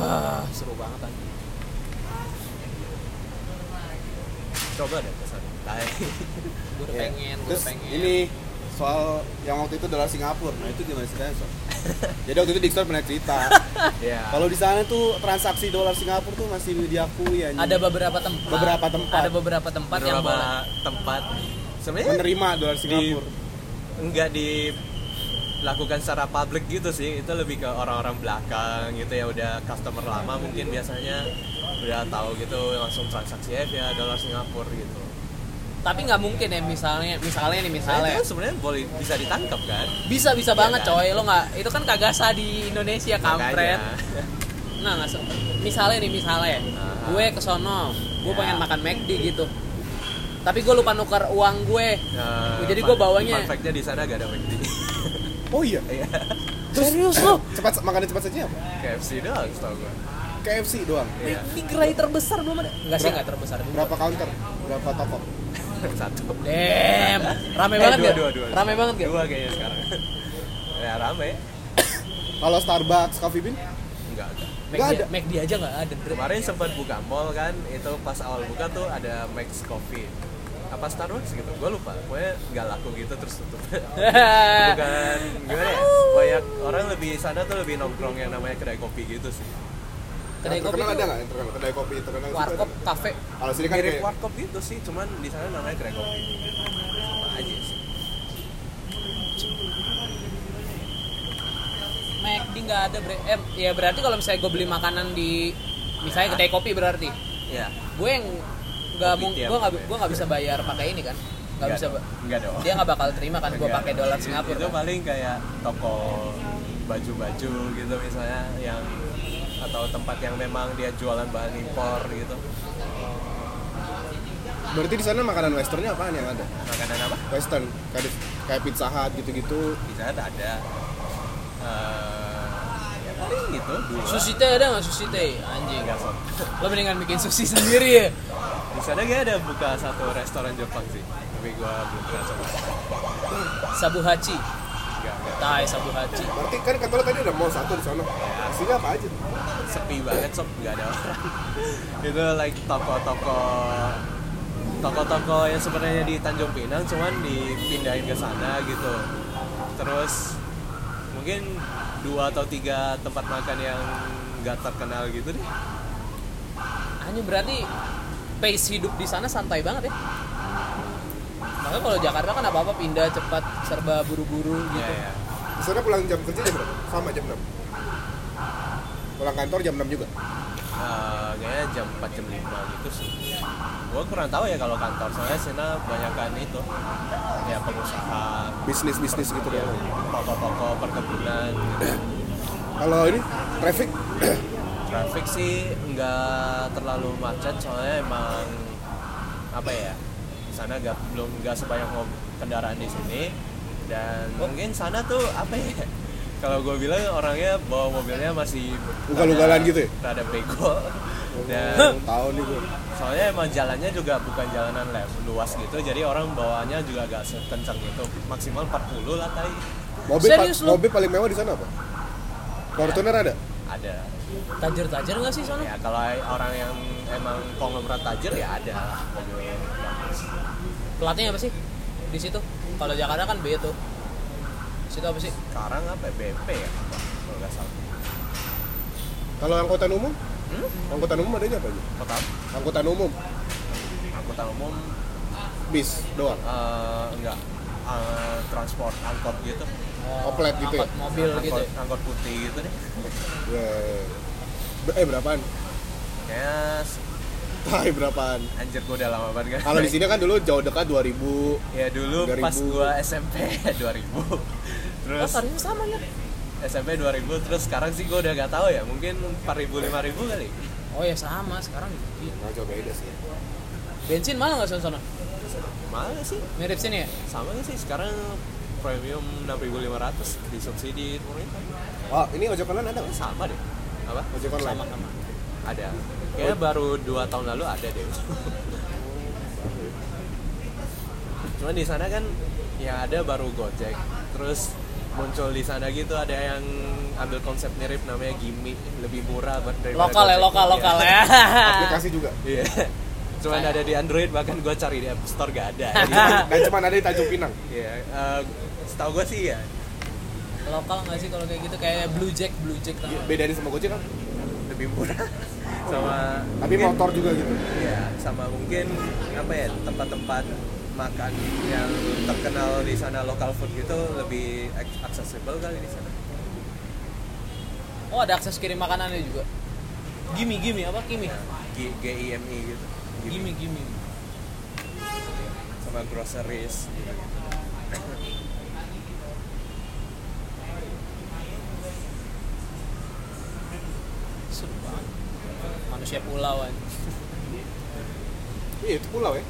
A: ah, seru banget anjing
C: coba deh pesan Nah,
A: gue udah
B: Iya.
A: pengen gue
B: Terus
A: udah pengen
B: ini soal yang waktu itu adalah Singapura. Nah, itu gimana ceritanya, Sob? Jadi waktu itu Dixon pernah cerita.
A: Nah.
C: ya
B: Kalau di sana tuh transaksi dolar Singapura tuh masih diakui ya.
A: ada beberapa tempat
B: Beberapa tempat.
A: ada beberapa tempat yang
C: beberapa
A: boleh
C: tempat
A: Eh?
C: sebenarnya
B: menerima dolar Singapura.
C: nggak dilakukan secara public gitu sih itu lebih ke orang-orang belakang gitu ya udah customer lama mungkin biasanya udah tahu gitu langsung transaksi aja via dolar Singapura gitu
A: tapi nggak mungkin ya misalnya misalnya nih
C: Nah,
A: misalnya
C: itu kan sebenarnya boleh bisa ditangkap kan
A: bisa bisa
C: Iya
A: banget
C: kan?
A: coy lo nggak itu kan kagak sah di Indonesia kampret
C: Makanya.
A: nah nggak se- misalnya nih misalnya
C: Ah.
A: gue ke sono gue
C: Ya.
A: pengen makan McD gitu tapi gue lupa nuker uang gue
C: Eh,
A: Jadi gua ya?
C: fun-
A: bawanya-
C: fun fact-nya di sana gak ada McD
B: Oh iya.
C: Iya.
A: serius lo
B: Cepat makanan cepat saja apa?
C: KFC doang setau gue
B: KFC doang.
C: Iya.
A: ini gerai terbesar belum ada nggak sih
B: Berapa?
A: nggak terbesar juga
B: Berapa counter? Berapa toko?
C: satu
A: Damn, rame
C: Eh,
A: banget
C: dua,
A: gak?
C: dua, dua.
A: Rame banget gak?
C: dua kayaknya sekarang ya rame
B: Kalau Starbucks, Coffee Bean?
C: enggak ada
B: Nggak
A: McD,
B: ada.
A: McD aja gak ada Dre.
C: Kemarin sempat buka mall kan, itu pas awal buka tuh ada Max Coffee apa Starbucks gitu, gue lupa, pokoknya nggak laku gitu terus tutup
A: Eh.
C: bukan gimana ya, banyak orang lebih sana tuh lebih nongkrong yang namanya kedai kopi gitu sih
A: Kedai
B: Yang
A: kopi tuh
B: terkenal ada nggak? yang terkenal? Kedai kopi terkenal. itu
A: warkop,
B: ada.
A: kafe
B: Kalau sini kan
C: mirip
B: kayak
C: warkop gitu sih, cuman di sana namanya kedai kopi sama aja sih
A: McD gak ada Bre eh, Ya berarti kalau misalnya gue beli makanan di Misalnya kedai kopi berarti
C: ya
A: Gue yang gak
C: Kopi
A: mau,
C: tiap.
A: gue gak, gua nggak bisa bayar pakai ini kan Gak bisa, ba-
C: nggak dong
A: dia gak bakal terima kan gue
C: Enggak.
A: pakai dolar Singapura
C: itu
A: kan?
C: paling kayak toko baju-baju gitu misalnya yang atau tempat yang memang dia jualan bahan impor gitu
B: berarti di sana makanan westernnya apaan yang ada?
C: makanan apa
B: Western, kayak kayak Pizza Hut gitu-gitu.
C: di sana tak ada Eh, ya paling gitu dua
A: Sushi teh ada gak sushi teh? Anjing
C: Enggak, Sob.
A: Lo mendingan bikin sushi sendiri ya
C: di sana kayak ada buka satu restoran Jepang sih tapi gua belum pernah coba
A: Sabuhachi
C: Enggak, enggak.
A: Tai Sabuhachi
B: Berarti kan kata lo tadi ada mall satu di sana. Isinya apa aja?
C: sepi banget sob nggak ada orang itu like toko-toko toko-toko yang sebenarnya di Tanjung Pinang cuman dipindahin ke sana gitu terus mungkin dua atau tiga tempat makan yang nggak terkenal gitu deh
A: Hanya berarti pace hidup di sana santai banget ya. Makanya kalau Jakarta kan apa-apa pindah cepat, serba buru-buru gitu.
C: ya, ya.
B: Di sana pulang jam kerja jam berapa? Sama jam 6. Pulang kantor jam 6 juga.
C: Eh, kayaknya jam 4 jam 5 gitu sih gua kurang tahu ya kalau kantor soalnya sana banyakan itu ya pengusaha
B: Bisnis-bisnis gitu
C: ya,
B: ya.
C: toko-toko perkebunan gitu.
B: Kalau ini traffic
C: Traffic sih nggak terlalu macet soalnya emang apa ya di sana nggak belum nggak sebanyak mob- kendaraan di sini dan
B: Oh.
C: mungkin sana tuh apa ya kalau gue bilang orangnya bawa mobilnya masih
B: Ugal-ugalan
C: rada-
B: gitu ya? Oh.
C: rada bego dan
B: Belum tahu nih gue.
C: soalnya emang jalannya juga bukan jalanan le- luas gitu jadi orang bawaannya juga agak kencang gitu maksimal 40 lah tadi
B: Mobil, pa-
A: Serius lu?
B: mobil paling mewah di sana apa? Fortuner ada?
C: ada iya.
A: Tajir-tajir nggak sih sana?
C: Ya kalau orang yang emang konglomerat tajir ya ada lah mobil bagus.
A: Pelatnya apa sih? Di situ. Kalau Jakarta kan B tuh. Di situ apa sih?
C: Sekarang apa ya? BP ya? Kalau nggak salah.
B: Kalau angkutan umum?
C: Hmm?
B: Angkutan umum adanya apa aja?
C: Kota
B: Angkutan umum,
C: angkutan umum
B: bis doang.
C: eh, enggak Eh, transport angkot gitu.
A: Oh,
B: Oplet gitu ya?
A: angkot mobil
C: angkot,
A: gitu. ya.
C: angkot putih gitu deh.
B: Ya, Eh berapaan?
C: Ya s-
B: Tai berapaan?
C: anjir gua udah lama banget kan.
B: Kalau di sini kan dulu jauh dekat 2000
C: ya dulu pas
B: 2000.
C: gua SMP 2000.
A: Oh,
C: Terus
A: tarifnya sama ya?
C: SMP 2000 terus sekarang sih gua udah gak tahu ya, mungkin 4000 5000 kali.
A: Oh ya sama sekarang.
B: Nah, jauh beda sih.
A: Bensin mahal nggak sana?
C: Mahal sih?
A: Mirip sini ya?
C: sama nggak sih sekarang premium 6500 disubsidi pemerintah
B: Oh, ini ojek online ada nggak?
C: sama deh apa
B: Ojek online.
A: Sama sama.
C: ada kayaknya baru dua tahun lalu ada deh cuma di sana kan yang ada baru Gojek terus muncul di sana gitu ada yang ambil konsep mirip namanya Gimi lebih murah ber- daripada
A: lokal ya
C: Gojek.
A: lokal
C: Iya.
A: lokal ya
B: aplikasi juga
C: iya cuman ada di Android bahkan gue cari di App Store gak ada
B: dan cuma ada di Tanjung Pinang
C: Iya, eh, setahu gue sih ya
A: lokal nggak sih kalau kayak gitu kayak blue jack blue jack tau nggak?
B: bedanya sama Gojek kan
C: lebih murah sama
B: tapi
C: mungkin-
B: motor juga gitu
C: Iya, sama mungkin apa ya tempat-tempat makan yang terkenal di sana local food gitu lebih ac- accessible kali di sana.
B: Iya.
A: oh ada akses kirim makanannya juga gimi gimi apa kimi
B: Iya,
C: G- GIMI gitu.
A: gimi gimi
C: Sama groceries gitu.
A: seru banget manusia pulau aja.
B: iya itu pulau ya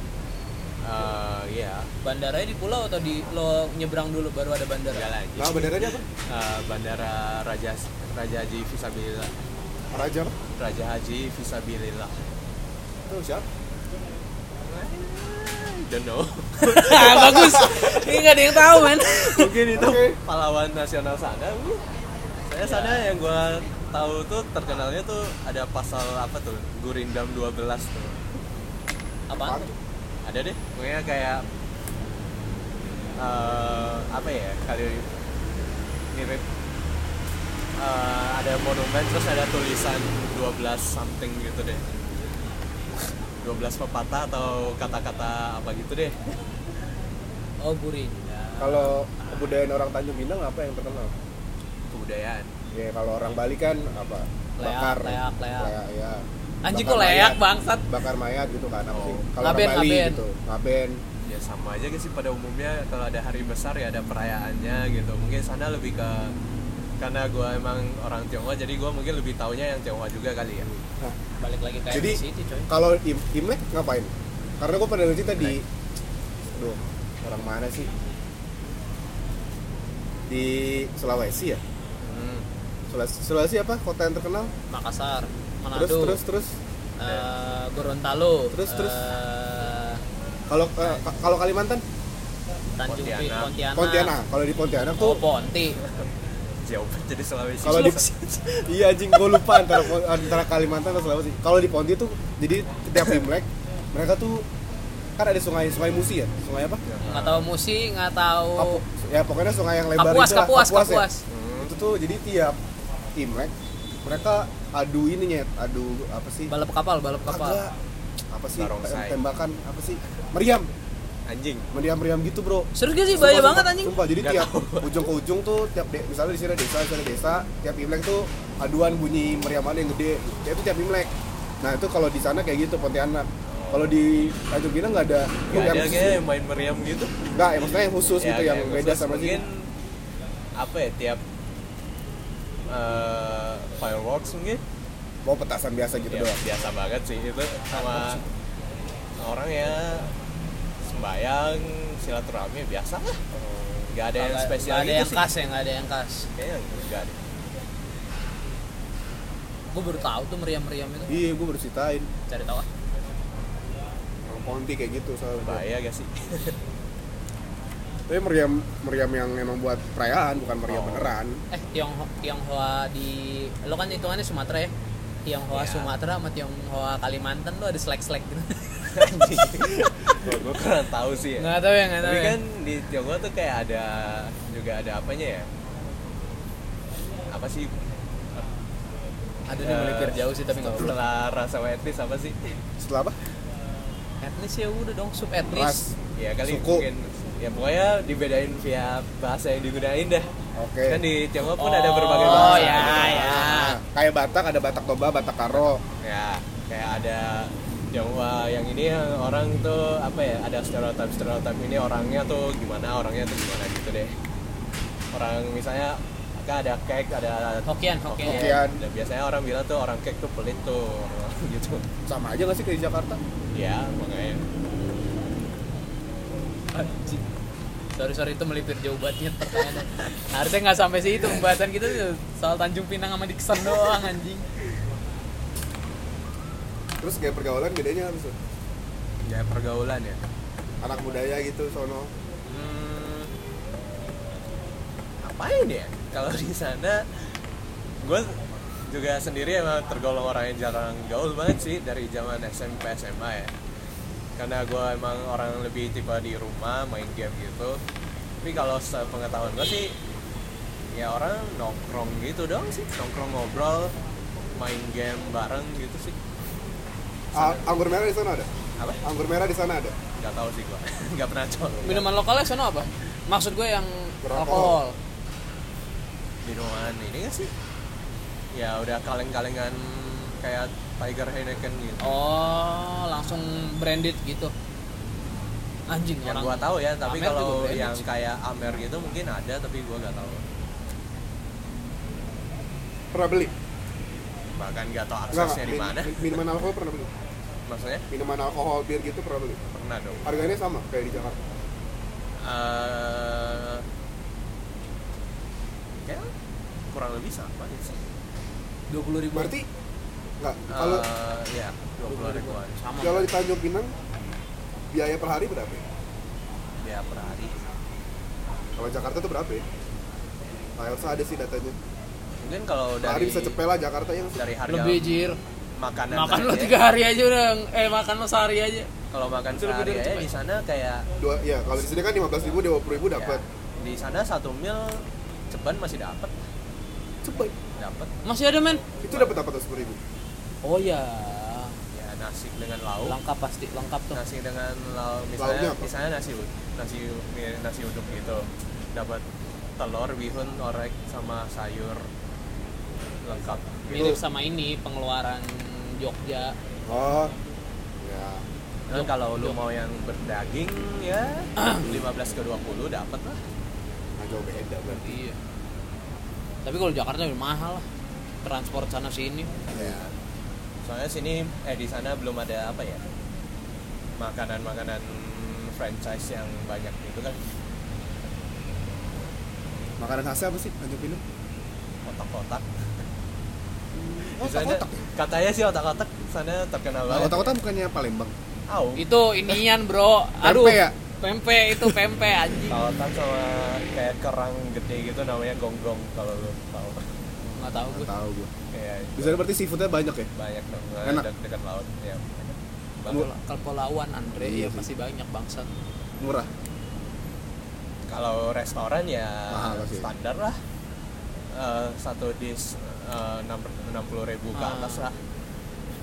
C: Eh, iya,
A: bandaranya di pulau atau di lo nyebrang dulu baru ada
C: enggak
A: bandara
C: lagi.
B: nah bandaranya apa
C: Eh, Bandara Raja Raja Haji Visabilillah.
B: Raja apa?
C: Raja Haji Visabilillah.
B: itu siapa
C: Don't know.
A: bagus ini nggak ada yang tahu man
C: mungkin itu
B: Oke.
C: pahlawan nasional sana Bu. saya sana yang gua tahu tuh terkenalnya tuh ada pasal apa tuh gurindam 12 tuh
A: apa
B: Apaan?
C: ada deh pokoknya kayak eh, apa ya kali mirip eh, ada monumen terus ada tulisan 12 something gitu deh 12 pepatah atau kata-kata apa gitu deh
A: oh burin
B: kalau kebudayaan orang Tanjung Pinang apa yang terkenal
C: kebudayaan
B: ya kalau orang Bali kan apa
A: Leak,
B: bakar
A: leak, leak.
B: ya
A: Anjing,
B: Bakar
A: kok leak,
B: mayat.
A: bangsat?
B: bakar mayat gitu kan apa sih
C: Oh.
B: kalau orang
A: Ngaben,
B: Bali
A: ngaben.
B: gitu ngaben
C: ya sama aja sih pada umumnya kalau ada hari besar ya ada perayaannya gitu mungkin sana lebih ke karena gue emang orang Tionghoa jadi gue mungkin lebih taunya yang Tionghoa juga kali ya
B: Nah,
A: balik lagi ke
B: jadi
A: situ coy
B: kalau Im- Imlek ngapain karena gue pada cerita di Aduh, orang mana sih di Sulawesi ya
C: hmm.
B: Sulawesi, Sulawesi apa kota yang terkenal
A: Makassar Manado
B: terus terus terus
A: eh, Gorontalo
B: Terus, terus.
A: eh,
B: kalau eh, ka- kalau Kalimantan
A: Tanjung Priok Pontianak,
C: Pontianak.
B: Pontianak kalau di Pontianak
A: oh
B: tuh
A: Ponti
C: jauh banget jadi Sulawesi
B: kalau di iya anjing gue lupa antara antara Kalimantan atau Sulawesi kalau di Ponti tuh jadi setiap Imlek mereka tuh kan ada sungai sungai Musi ya sungai apa
A: nggak tahu musi nggak tahu
B: Kapu- ya pokoknya sungai yang lebar
A: kapuas
B: itulah,
A: kapuas
B: Kapuas ya.
A: kapuas
C: Hmm.
B: itu tuh jadi tiap Imlek mereka adu ininya adu apa sih
A: balap kapal balap kapal
B: Kagak. apa sih
C: Barongsai.
B: tembakan apa sih meriam
C: anjing
B: meriam meriam gitu bro
A: serius gak sih
B: Sumpah,
A: bahaya
B: sumpah,
A: banget anjing
B: Sumpah, jadi
C: Nggak
B: tiap ujung ke ujung tuh tiap de- misalnya di sini ada desa, di sini ada desa, tiap Imlek tuh aduan bunyi meriam mana yang gede. Ya, itu tiap Imlek. Nah, itu kalau di sana kayak gitu Pontianak. Kalau di Tanjung Pinang nggak ada
C: Gak ada
B: khusus.
C: kayak yang Iya, main meriam gitu
B: Nggak, ya, maksudnya yang khusus
C: Ya,
B: gitu yang
C: kayak
B: beda
C: khusus
B: sama sini.
C: mungkin apa ya tiap eh, fireworks mungkin
B: Mau petasan biasa gitu
C: ya,
B: doang.
C: biasa banget sih itu sama orang ya sembayang silaturahmi biasa lah nggak ada yang
A: Nggak-
C: spesial
A: nggak ada
C: gitu
A: yang
C: sih.
A: khas ya nggak ada yang khas
C: kayaknya enggak deh
A: gue baru tahu tuh meriam meriam itu
B: Iya, gue baru ceritain.
A: cari tahu ah.
B: Orang Ponti kayak gitu soalnya.
C: bahaya gak sih
B: Tapi meriam meriam yang emang buat perayaan, bukan meriam
C: Oh.
B: beneran.
A: eh Tiongho- tionghoa di lo kan hitungannya Sumatera ya tionghoa
C: Ya.
A: Sumatera sama tionghoa Kalimantan tuh ada selek selek gitu
C: gue kurang tahu sih ya
A: nggak tahu ya nggak tahu
C: tapi
A: ya.
C: kan di Tiongkok tuh kayak ada juga ada apanya ya apa sih
A: aduh ini
C: Eh,
A: melipir jauh sih tapi nggak apa-apa
C: setelah rasa etnis apa sih
B: Setelah apa?
A: etnis ya udah dong sub
B: Ras.
A: etnis
C: ya kali
B: Suku.
C: mungkin ya pokoknya dibedain via bahasa yang digunain dah
B: Oke.
C: kan di Tiongkok pun
A: Oh,
C: ada berbagai
A: ya,
C: bahasa gitu.
A: ya.
B: Nah, kayak Batak ada Batak Toba, Batak Karo.
C: ya kayak ada Jawa yang ini yang orang tuh apa ya ada stereotip stereotip ini orangnya tuh gimana orangnya tuh gimana gitu deh orang misalnya kan ada kek ada
A: Hokian, Hokian.
B: Hokian.
C: Dan biasanya orang bilang tuh orang kek tuh pelit tuh orang gitu
B: sama aja gak sih kayak di Jakarta?
C: ya makanya
A: Anjing. sorry sorry itu melipir jauh banget nyetek kayaknya. harusnya nggak sampai situ pembahasan kita tuh soal Tanjung Pinang sama Dixon doang anjing
B: terus kayak pergaulan bedanya apa sih
C: ya pergaulan ya
B: anak budaya gitu sono
C: Hmm, apain ya kalau di sana gue juga sendiri emang tergolong orang yang jarang gaul banget sih dari zaman SMP SMA ya karena gue emang orang lebih tipe di rumah main game gitu tapi kalau pengetahuan gue sih ya orang nongkrong gitu dong sih nongkrong ngobrol main game bareng gitu sih
B: Ah, anggur merah di sana ada
C: apa
B: anggur merah di sana ada
C: nggak tahu sih gue nggak pernah coba
A: Minuman lokalnya sono apa? Maksud gue yang
B: Beralkohol.
A: alkohol.
C: minuman ini gak sih ya udah kaleng-kalengan kayak Tiger Heineken gitu
A: Oh, langsung branded gitu. Anjing
C: yang gua
A: orang.
C: tahu ya tapi
A: Amer juga
C: kalau
A: branded
C: yang
A: sih.
C: kayak Amer gitu mungkin ada tapi gua nggak tahu
B: pernah beli
C: bahkan nggak tahu
B: Enggak,
C: aksesnya di
B: min-
C: mana
B: min- minuman alkohol pernah beli
C: maksudnya
B: minuman alkohol bir gitu pernah beli
C: pernah dong
B: harganya sama kayak di Jakarta
C: Eh, kayak kurang lebih sama ya sih
A: Dua puluh ribu.
B: berarti nggak kalau
C: kalau ya dua puluh ribuan
A: sama.
B: kalau di Tanjung Pinang biaya per hari berapa ya?
C: ya per hari
B: kalau Jakarta tuh berapa ya Nah, Elsa ada sih datanya.
C: mungkin kalau
B: Per hari
C: dari
B: bisa cepet lah Jakarta yang
C: dari kan? harga
A: Lebih jir.
C: makanan
A: Makan
C: tadi
A: lo
C: ya,
A: tiga hari aja udah. Eh makan lo sehari aja.
C: kalau makan
A: Itu lebih
C: sehari
A: dari
C: aja
A: cepet.
C: di sana kayak
B: dua ya kalau di sini kan 15.000 ribu dua ribu dapat
C: Ya, di sana satu mil ceban masih dapat,
B: cepet
C: dapat.
A: Masih ada men?
B: itu dapat apa tuh sepuluh ribu
A: Oh ya.
C: Ya nasi dengan lauk,
A: Lengkap pasti, lengkap tuh.
C: nasi dengan lauk
B: Lauknya
C: misalnya
B: apa?
C: misalnya nasi ud- nasi mi- nasi uduk gitu. Dapat telur, bihun, orek sama sayur lengkap.
A: Mirip sama ini pengeluaran Jogja.
B: oh ya
C: Dan kalau lu mau yang berdaging ya 15 ke 20 dapat lah.
B: nggak jauh beda berarti
A: Iya. Tapi kalau Jakarta lebih mahal lah. Transport sana sini.
B: ya
C: Soalnya sini eh di sana belum ada apa ya? Makanan-makanan franchise yang banyak gitu kan
B: makanan khasnya apa sih Tanjung Pinang
C: otak-otak
B: oh
C: Di sana-
B: otak-otak ya?
C: katanya sih otak-otak di sana terkenal
B: nah,
C: banget.
B: otak-otak bukannya Palembang
C: Au.
A: Itu inian, Bro. Aduh.
B: Pempek ya?
A: Pempek itu pempek anjing.
C: Otak sama kayak kerang gede gitu namanya gonggong kalau lu tahu.
A: Enggak tahu
B: nggak
A: gue.
B: tahu gua
C: Kayak
B: di sana berarti seafoodnya banyak ya
C: banyak dong
B: Enak.
C: dekat, dekat laut ya.
A: Kalau kalau lawan Andre ya
B: Iya sih.
A: pasti banyak bangsa.
B: murah
C: Kalau restoran ya
B: Mahal pasti.
C: standar lah. Eh, satu dish eh, enam puluh ribu ke
A: Ah.
C: atas lah.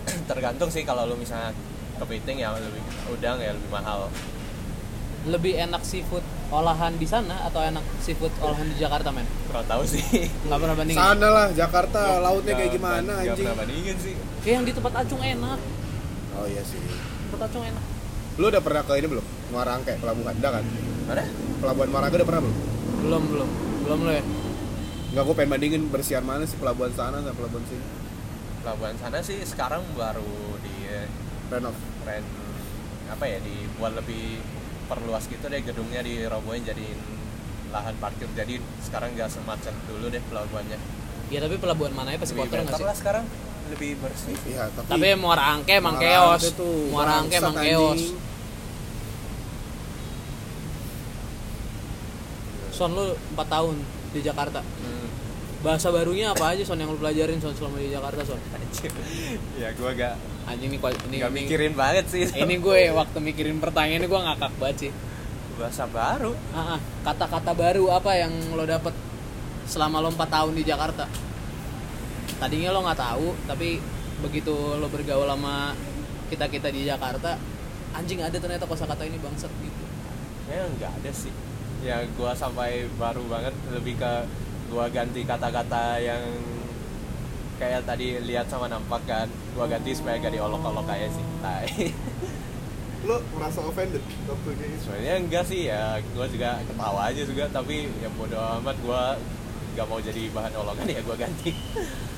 C: Tergantung sih kalau lu misalnya kepiting ya lebih udang ya lebih mahal.
A: Lebih enak seafood olahan di sana atau enak seafood olahan di Jakarta, men?
C: Kurang tahu sih.
A: Enggak pernah bandingin.
B: sana lah Jakarta lautnya
C: Nggak
B: kayak gimana
C: ban- nggak
B: anjing
C: pernah bandingin sih.
A: Eh, yang di tempat Acung enak.
B: oh iya sih
A: Tempat Acung enak.
B: lu udah pernah ke ini belum Muarangke pelabuhan dah kan
C: Mana?
B: pelabuhan Muarangke udah pernah belum
A: Belum, belum. Belum lo ya?
B: Enggak, gua pengen bandingin bersihan mana sih pelabuhan sana sama pelabuhan sini
C: pelabuhan sana sih sekarang baru di eh,
B: renov
C: ren apa ya dibuat lebih perluas gitu deh gedungnya dirobohin jadiin lahan parkir jadi sekarang nggak semacet dulu deh pelabuhannya
A: Ya tapi pelabuhan mana ya pasti
C: lebih
A: kotor
C: better
A: nggak sih?
C: lah sekarang lebih bersih
B: iya tapi
A: Tapi Muara Angke emang
B: Muara
A: keos.
B: Angke tuh,
A: Muara Angke emang
B: bangsat,
A: keos.
B: anjing.
A: Son lu 4 tahun di Jakarta.
C: Hmm,
A: Bahasa barunya apa aja Son yang lu pelajarin Son selama di Jakarta Son?
C: anjir. ya gue gak
A: Anjing nih kual- ini
C: nggak
A: ini-
C: mikirin banget sih
A: Ini gue waktu mikirin pertanyaan ini gue ngakak banget sih.
C: bahasa baru
A: Ah, ah, kata-kata baru apa yang lo dapet selama lo 4 tahun di Jakarta? Tadinya lo nggak tahu, tapi begitu lo bergaul sama kita-kita di Jakarta, anjing ada ternyata kosakata ini bangsat gitu.
C: ya nggak ada sih ya gue sampai baru banget lebih ke gue ganti kata-kata yang kayak tadi lihat sama nampak kan gue ganti supaya gak diolok-olok kayak sih tai
B: lu merasa offended waktu kayak gitu
C: sebenarnya enggak sih ya gue juga ketawa aja juga tapi ya bodo amat gue nggak mau jadi bahan olokan ya gue ganti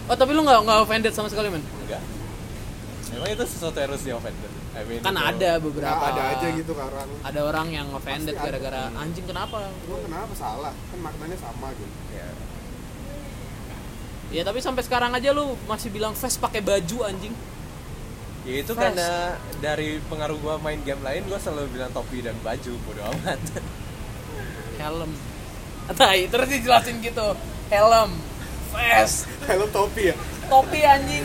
A: Oh tapi lo nggak nggak offended sama sekali men?
C: enggak memang itu sesuatu yang harus di offended I mean,
A: Kan
C: kalau-
A: ada beberapa.
B: ada aja gitu karang
A: Ada orang yang offended
B: Pasti ada.
A: gara-gara anjing kenapa?
B: gua kenapa salah kan maknanya sama gitu
C: ya,
A: Ya tapi sampai sekarang aja lu masih bilang vest pakai baju anjing.
C: Ya itu karena dari pengaruh gua main game lain gua selalu bilang topi dan baju bodo amat.
A: helm tai terus dijelasin gitu helm vest
B: helm topi ya
A: topi anjing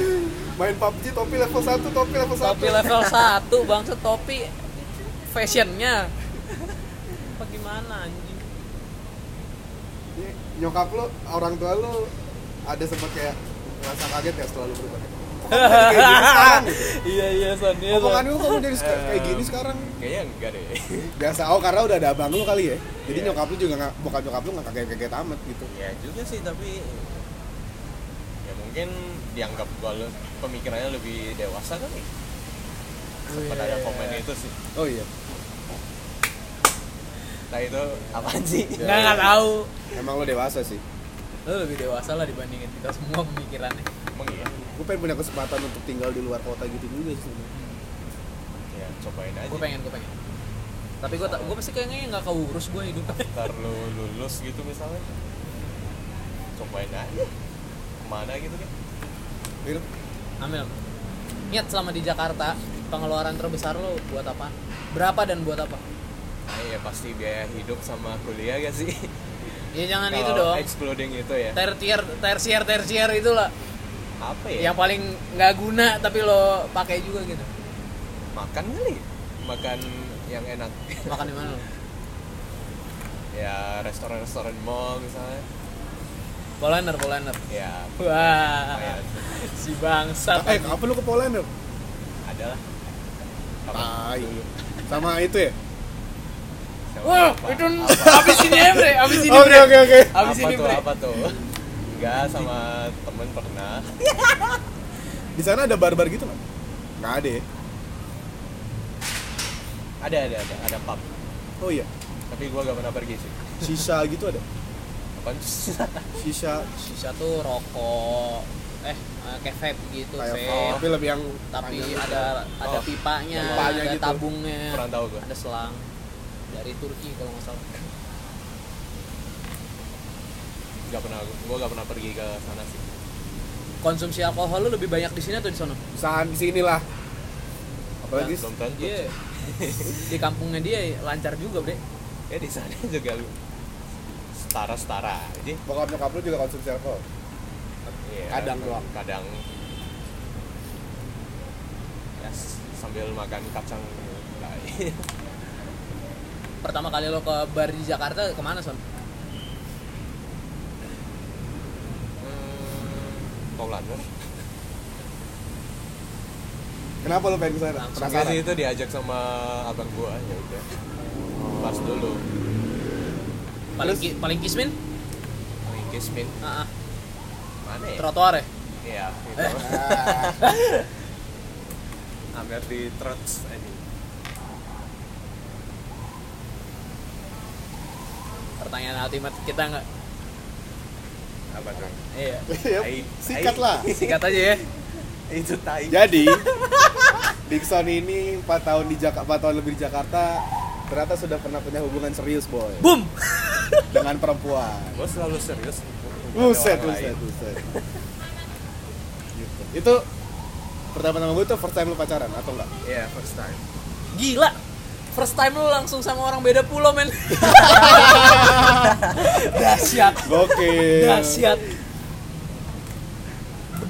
B: main PUBG topi level 1 topi level 1
A: topi level 1 bangsa topi fashionnya apa gimana anjing
B: Ini Iya, nyokap lu orang tua lu ada sempat kayak rasa kaget ya selalu berubah Kok kamu jadi
A: iya iya
B: kayak gini sekarang gitu?
A: son iya
B: Omongan lu kok jadi sek- kayak gini sekarang
C: Kayaknya enggak deh.
B: biasa oh karena udah ada abang lu kali ya jadi
C: Iya.
B: nyokap lu juga nggak bukan nyokap lu nggak kaget-kaget amat gitu
C: ya juga sih tapi ya mungkin dianggap gua le- pemikirannya lebih dewasa kali.
A: Iya.
C: Sempat
A: ya.
C: ada komen itu sih.
B: oh iya
C: Nah itu apaan sih?
B: Ya.
A: nggak nggak tahu
B: emang lu dewasa sih
A: lu lebih dewasa lah dibandingin kita semua pemikirannya
C: Emang iya.
B: gue pengen punya kesempatan untuk tinggal di luar kota gitu juga sih
C: Ya cobain aja.
A: gue pengen gue pengen tapi gue gue pasti kayaknya nggak keurus gue hidup
C: Ntar lu lulus gitu misalnya. Cobain aja. Kemana gitu kan?
B: Gitu.
A: Amel niat selama di Jakarta pengeluaran terbesar lo buat apa berapa dan buat apa
C: Nah, ya pasti biaya hidup sama kuliah gak sih?
A: ya jangan
C: Kalau
A: itu dong
C: Excluding itu ya.
A: tertier tersier tersier itulah
C: Apa ya?
A: yang paling nggak guna tapi lo pakai juga gitu
C: Makan kali. Makan yang enak.
A: makan di mana lo
C: ya restoran-restoran mall misalnya.
A: Polaner, polaner.
C: Ya
A: Wah,
C: lumayan.
A: si bangsat.
B: eh kapan lu ke Poland dong
C: adalah.
B: tai sama itu ya
A: Wah, itu habis ini Emre, habis ini
B: oke
A: Bre.
B: oke oke
A: Habis
C: apa
A: ini
C: tuh,
A: Bre.
C: apa tuh? Enggak sama temen pernah.
B: di sana ada barbar gitu nggak nggak ada ya
C: Ada ada ada ada pub.
B: oh iya
C: Tapi gua gak pernah pergi sih.
B: sisa gitu ada
C: Apaan sih?
B: sisa
A: Sisa tuh rokok. Eh, eh, kayak vape gitu,
B: kayak
A: vape.
B: tapi lebih yang
A: Tapi
B: panjang gitu.
A: ada ada
C: Oh,
A: pipanya,
B: pipanya
A: ada
B: gitu.
A: tabungnya,
C: Kurang tahu gua.
A: ada selang dari Turki kalau nggak salah.
C: Gak pernah gua gak pernah pergi ke sana sih.
A: Konsumsi alkohol lu lebih banyak di sini atau di sono?
B: saan di sini lah apalagi
C: Belum tentu.
A: Iya. di kampungnya dia lancar juga, Bre.
C: Ya di sana juga lu setara-setara aja.
B: bokap nyokap lu juga konsumsi alkohol
C: Iya,
B: Kadang doang.
C: Kadang. Ya, s- sambil makan kacang tai.
A: Pertama kali lo ke bar di Jakarta kemana, Son?
C: Hmm, Paulaner.
B: kenapa lu pengen kesana
A: Langsung
C: Enggak sih
B: penasaran
C: itu diajak sama abang gua ya udah. Pas dulu.
A: Paling
B: Terus?
A: ki- paling kismin?
C: Main kismin.
A: Ah, ah.
C: Mana ya?
A: trotoar ya?
C: Iya, gitu.
B: Ah,
C: Hampir di trots aja.
A: Pertanyaan ultimate kita nggak?
C: Apa tuh?
A: Iya.
B: yep,
C: Ai-
B: sikat
C: ai.
B: lah
A: Sikat aja ya.
C: Itu tai.
B: jadi Dixon ini 4 tahun di Jakarta 4 tahun lebih di Jakarta ternyata sudah pernah punya hubungan serius boy
A: Boom.
B: dengan perempuan
C: Gua selalu serius.
B: Buset,
C: Ada orang
B: buset,
C: lain.
B: buset. Gitu. Itu pertama-tama gue tuh first time lu pacaran atau enggak?
C: Iya, first time.
A: Gila. First time lu langsung sama orang beda pulau, men. Dahsyat.
B: Gokil.
A: Dahsyat.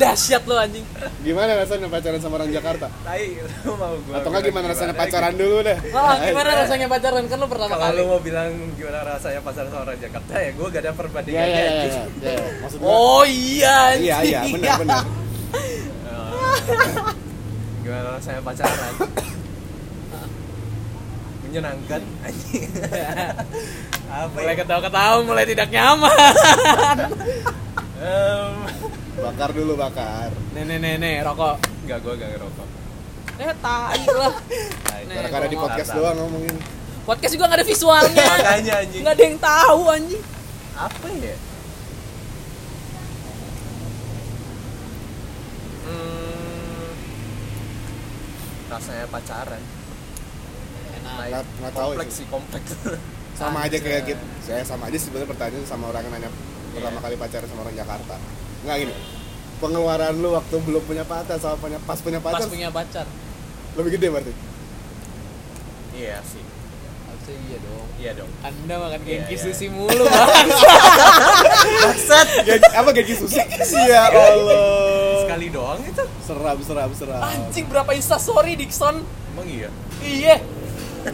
A: Dahsyat lo anjing.
B: Gimana rasanya pacaran sama orang Jakarta?
C: Tai, lu mau
B: Atau
C: gua. bilang
B: enggak gimana rasanya
C: gitu?
B: pacaran dulu deh?
A: Wah, gimana rasanya pacaran kan lu pertama
C: Kalau
A: kali.
C: lu mau bilang gimana rasanya pacaran sama orang Jakarta ya, gua gak ada gitu.
B: Iya,
C: perbandingannya.
B: iya, iya,
C: anjing.
B: iya. iya. Maksud gue
A: Oh iya anjing.
B: Iya, iya, benar, benar.
C: gimana rasanya pacaran? Menyenangkan. anjing. Apa ya?
A: Mulai ketawa-ketawa, mulai tidak nyaman.
C: Em,
B: Bakar dulu, bakar.
A: Nih, nih, nih, nih, rokok.
C: Enggak, gua gak ngerokok.
A: Eh, tai lah.
C: Tai.
A: Nih,
B: Nah, Karena di
A: gua mau-
B: podcast
C: ngarang.
B: doang ngomongin.
A: Podcast juga gak ada visualnya.
C: Makanya anjing.
A: Gak ada yang tahu anjing.
C: Apa ya? Hmm, rasanya pacaran.
A: Enak.
B: Enggak enggak Ah, tahu
C: kompleks
B: itu.
C: sih, kompleks.
B: Sama aja kayak gitu. Saya sama aja sebenarnya pertanyaan sama orang yang nanya pertama
C: Iya.
B: kali pacaran sama orang Jakarta. Enggak gini. Pengeluaran lu waktu belum punya pacar sama punya pas punya
A: Pas
B: pacar
A: punya pacar.
B: lebih gede berarti
C: Iya sih.
A: Harusnya iya dong.
C: Iya dong.
A: Anda makan
C: Iya,
A: genki
C: iya.
A: sushi mulu, Bang.
B: Gaji- apa gaji susi ya allah
C: Sekali doang itu.
B: seram seram seram
A: Anjing berapa insta sorry Dixon?
C: Emang iya.
A: Iya.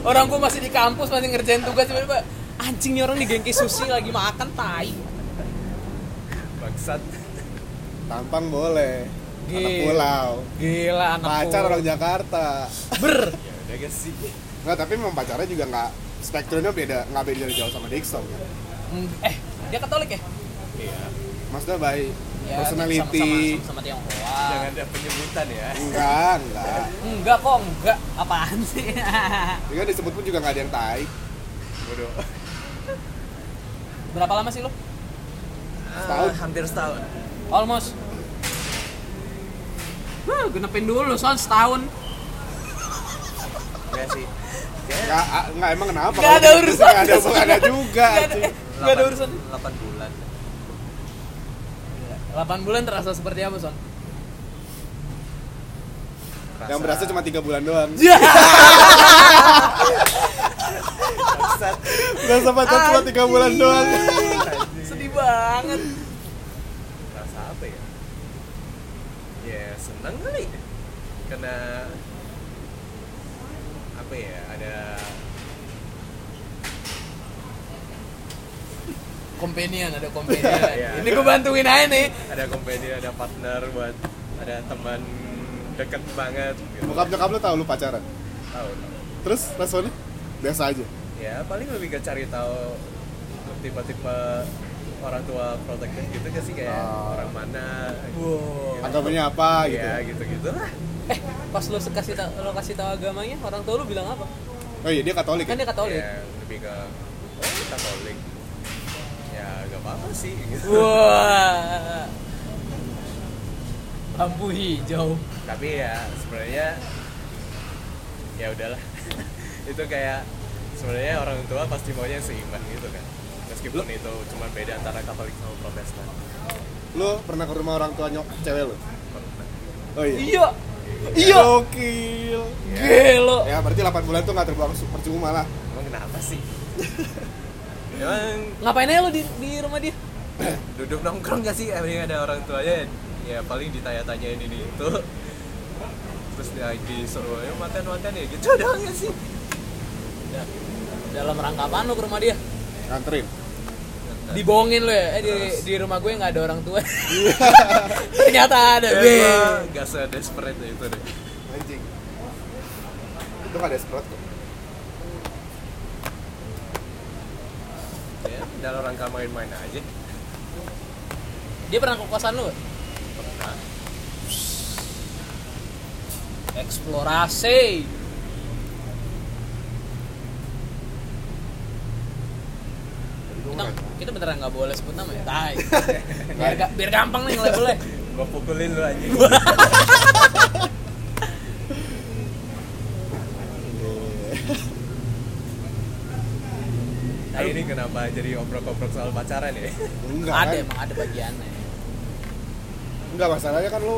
A: Orang gua masih di kampus masih ngerjain tugas tiba-tiba anjingnya orang di genki sushi lagi makan tai.
C: Bangsat.
B: tampang boleh anak
A: Gila.
B: pulau
A: Gila anak
B: pacar
A: gua.
B: orang Jakarta
A: ber.
C: Ya udah guys sih.
B: nggak tapi memang pacarnya juga nggak spektrumnya beda nggak beda jauh sama Dixon kan
A: Mm, Eh, dia Katolik ya?
C: Iya.
B: maksudnya baik
A: Ya,
B: personality
A: sama- sama sama, sama Tionghoa.
B: Ah.
C: Jangan ada penyebutan ya.
B: enggak enggak
A: Enggak kok, enggak. Apaan sih?
B: juga kan disebut pun juga nggak ada yang tai
C: Bodoh.
A: Berapa lama sih lu?
B: Setahun.
C: Ah, hampir setahun.
A: Almost. Huh, genepin dulu, son setahun.
C: Enggak sih.
B: nggak a- nggak emang kenapa
A: Nggak
B: Kalau
A: ada
B: gitu
A: urusan.
B: nggak ada hubungannya juga
A: Nggak ada-
B: anjing.
A: Nggak ada urusan.
C: 8 bulan.
A: 8 bulan terasa seperti apa, son?
B: yang
C: Rasa-
B: berasa cuma tiga bulan doang
A: Ya.
C: Bangsat.
B: berasa pacar cuma tiga bulan doang
A: Sedih banget.
C: rasa apa ya ya seneng kali karena apa ya ada
A: Companion, ada companion.
C: Iya.
A: Ini gue bantuin aja nih.
C: ada company ada partner buat ada teman deket banget gitu.
B: bokap nyokap lu tahu lu pacaran
C: tahu tahu.
B: terus responnya biasa aja
C: ya paling lebih ke cari tahu tipe-tipe orang tua protektif gitu gak sih kayak
B: Oh.
C: orang mana
A: Wow.
B: agamanya apa gitu
C: ya gitu gitu lah
A: Eh, pas lu se- kasih tau, lo kasih tahu agamanya, orang tua lu bilang apa?
B: oh iya dia katolik
A: Kan
B: ya?
A: dia Katolik.
C: ya lebih ke oh, katolik ya gak apa-apa sih gitu.
A: Wah. Lampu hijau.
C: tapi ya sebenarnya ya udahlah itu kayak sebenarnya orang tua pasti maunya seimbang gitu kan meskipun itu cuma beda antara Katolik sama Protestan
B: lu pernah ke rumah orang tua nyok cewek lu oh iya
A: Iya. Iya.
B: Gokil.
A: Gelo.
B: ya berarti 8 bulan tuh nggak terbuang su- percuma lah
C: emang kenapa sih emang
A: Ngapain aja lo di, di rumah dia?
C: duduk nongkrong gak sih emang ada orang tuanya ya paling ditanya-tanyain ini itu terus dia disuruh "Ayo makan makan ya gitu doang gak sih
A: Dalam rangka apaan lo ke rumah dia?
B: nganterin
A: Dibohongin lo ya? Eh, di,
C: Terus. Iya.
A: di rumah gue nggak ada orang tua. Ternyata ada. Be.
C: Emang gak se-desperate itu deh
B: anjing itu nggak ada spread kok
C: ya dalam rangka main-main aja
A: Dia pernah ke kosan lo?
C: pernah
A: Eksplorasi. Kita,
C: kan?
A: kita beneran nggak boleh sebut nama ya? Tai. Biar, ga- biar gampang nih nge-labelnya.
C: gua pukulin lu anjing Nah, ini kenapa jadi obrok-obrok soal pacaran ya?
B: enggak
A: Ada
B: kan?
A: emang ada bagiannya.
B: enggak masalahnya kan lu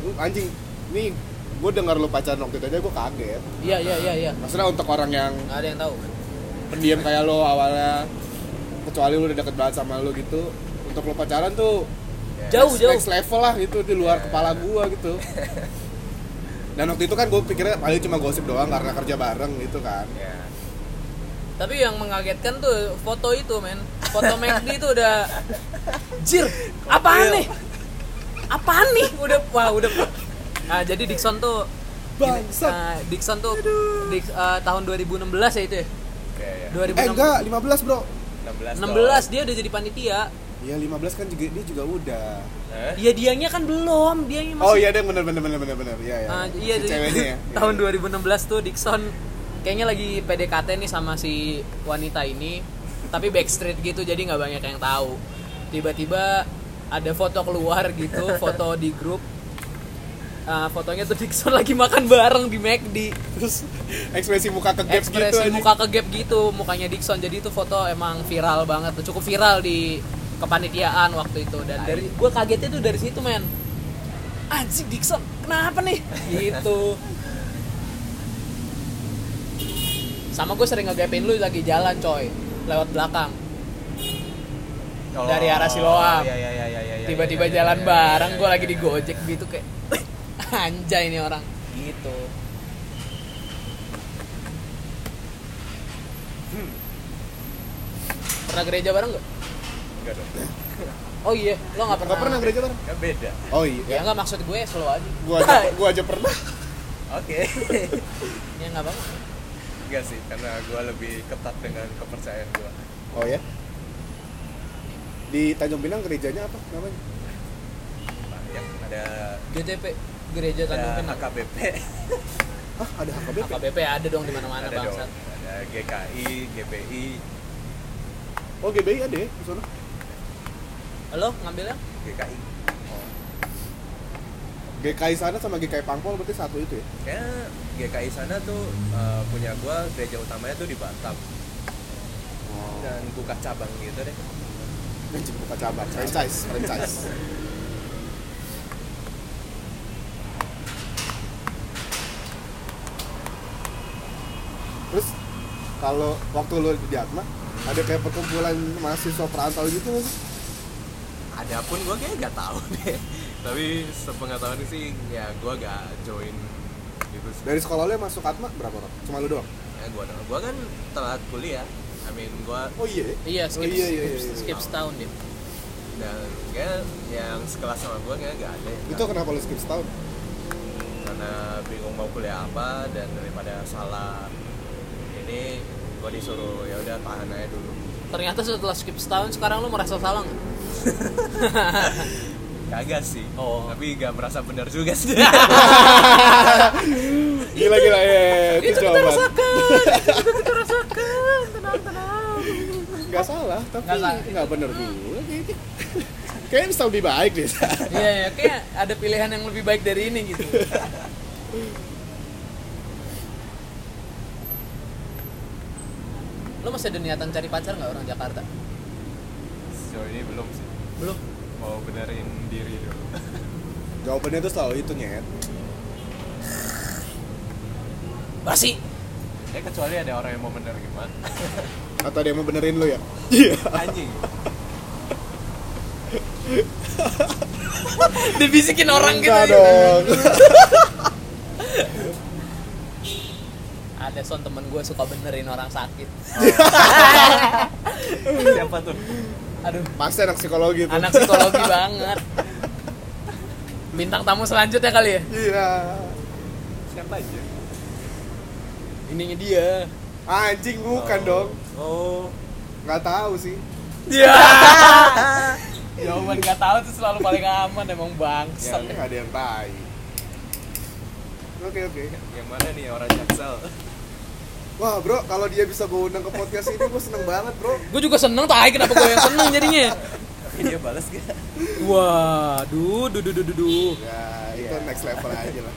B: lu anjing nih gue dengar lu pacaran waktu itu aja gue kaget
A: Iya iya iya iya.
B: maksudnya untuk orang yang
A: Nggak ada yang tahu.
B: pendiam kayak lo awalnya kecuali lu udah deket banget sama lo gitu untuk lo pacaran tuh
A: Jauh Iya.
B: next-
A: jauh.
B: next level lah gitu di luar kepala gua gitu dan waktu itu kan gue pikirnya paling cuma gosip doang karena kerja bareng gitu kan
C: Ya,
A: Tapi yang mengagetkan tuh foto itu men. Foto McD itu udah jir.
B: Iya.
A: Apaan nih? Apaan nih? Udah wah udah. Nah, jadi Dixon tuh ini-
B: Bangsat.
A: nah, Dixon tuh Dix- eh, tahun 2016 ya itu ya.
C: ya, ya.
A: 2016.
B: eh enggak 15 bro
C: 16
A: 16 dia udah jadi panitia.
B: Iya 15 kan juga dia juga udah
C: dong. Hah?
A: Iya dianya kan belum, dianya masih
B: Eh. oh iya deh bener bener bener bener bener iya iya
A: Ah,
B: Si
A: iya, jadi
B: ceweknya ya
A: tahun 2016 tuh Dixon kayaknya lagi PDKT nih sama si wanita ini, tapi backstreet gitu jadi nggak banyak yang tahu. Tiba-tiba ada foto keluar gitu, foto di grup. Ah, fotonya tuh Dixon lagi makan bareng di McD.
B: terus ekspresi muka ke gap gitu
A: Ekspresi
B: anjing.
A: muka ke gap gitu, mukanya Dixon. Jadi itu foto emang viral banget, tuh. cukup viral di kepanitiaan waktu itu dan dari gue kagetnya tuh dari situ men. Anjing Dixon, kenapa nih gitu sama gue sering ngegapin lu lagi jalan coy lewat belakang Oh.
C: Kalau-
A: Dari arah Siloam.
C: Iya, iya, iya, iya, iya, iya,
A: tiba-tiba
C: iya, iya,
A: jalan
C: iya,
A: bareng
C: iya,
A: gue
C: iya,
A: lagi di
C: iya.
A: gojek gitu kayak anjay ini orang gitu pernah gereja bareng nggak
C: Enggak dong.
A: oh iya lo nggak pernah
B: Nggak pernah gereja bareng?
C: Enggak beda.
B: Oh
A: ya
B: iya.
A: nggak maksud gue slow aja
B: Gua aja, gua aja pernah.
C: Oke.
A: ya nggak apa
C: Enggak sih, karena gue lebih ketat dengan kepercayaan gue.
B: Oh ya. Di Tanjung Pinang gerejanya apa namanya?
C: Nah, yang ada
A: GTP gereja Tanjung
B: Ya.
C: ada
A: Pinang
C: AKBP,
B: Ah, ada HKBP.
A: AKBP ada dong di mana-mana
C: ada dong,
A: bangsat
C: ada GKI, GPI,
B: Oh, GBI ada ya di sana.
A: lo ngambilnya
C: GKI.
B: GKI sana sama GKI Pangpol berarti satu itu ya.
C: Kayaknya GKI sana tuh eh, punya gue gereja utamanya tuh di Batam dan buka cabang gitu deh.
B: Dan jadi buka cabang, franchise, franchise. Terus kalau waktu lu di Atma ada kayak perkumpulan mahasiswa perantau gitu nggak sih?
C: Ada pun gue kayaknya nggak tahu deh. Tapi sepengetahuan sih ya gue gak join gitu sih.
B: Dari sekolah lu yang masuk Atma berapa orang? Cuma lu doang?
C: Ya, gue gua kan telat kuliah. I mean gue
B: Oh iya. ya?
A: iya
B: Oh,
A: skip
B: iya, iya, iya, iya.
A: skip setahun deh
C: dan kayak yang sekelas sama gue kayak gak ada. ya.
B: Itu kenapa lu skip setahun?
C: karena bingung mau kuliah apa dan daripada salah ini gue disuruh ya udah tahan aja dulu
A: ternyata setelah skip setahun sekarang lo merasa salah nggak
C: kagak sih
A: Oh.
C: tapi gak merasa benar juga sih
B: Gila gila ya. Itu jawaban.
A: itu kita rasakan tenang tenang
B: Gak salah, tapi
A: Nggak salah.
B: nggak bener juga kayaknya. Kayaknya bisa lebih baik deh.
A: iya iya kayak ada pilihan yang lebih baik dari ini gitu lo masih ada niatan cari pacar nggak orang Jakarta
C: sejauh ini belum sih
A: belum
C: mau benerin diri dulu
B: Jawabannya tuh selalu itu nyet.
A: basi
C: ya kecuali ada orang yang mau bener gimana
B: Atau dia mau benerin lu ya?
C: anjing
A: dibisikin orang gitu
B: Enggak
A: ya.
B: dong.
A: ada son temen gue suka benerin orang sakit
C: siapa tuh
A: aduh
B: Pasti anak psikologi tuh.
A: anak psikologi banget bintang tamu selanjutnya kali ya
B: Iya.
C: siapa aja
A: ininya dia
B: Anjing bukan
C: Oh.
B: dong.
C: oh
B: Nggak tahu sih.
A: Ya. Jawaban nggak tahu itu selalu paling aman emang
B: Ya,
A: bangsat.
B: nggak ada yang tahu. Oke oke.
C: yang mana nih orang jaksel
B: Wah bro, kalau dia bisa gue undang ke podcast ini gue seneng banget bro.
A: Gue juga seneng tai kenapa gue yang seneng jadinya?
C: Tapi dia balas gak
A: Waduh, duh duh duh duh. duh.
B: Ya itu next level aja lah.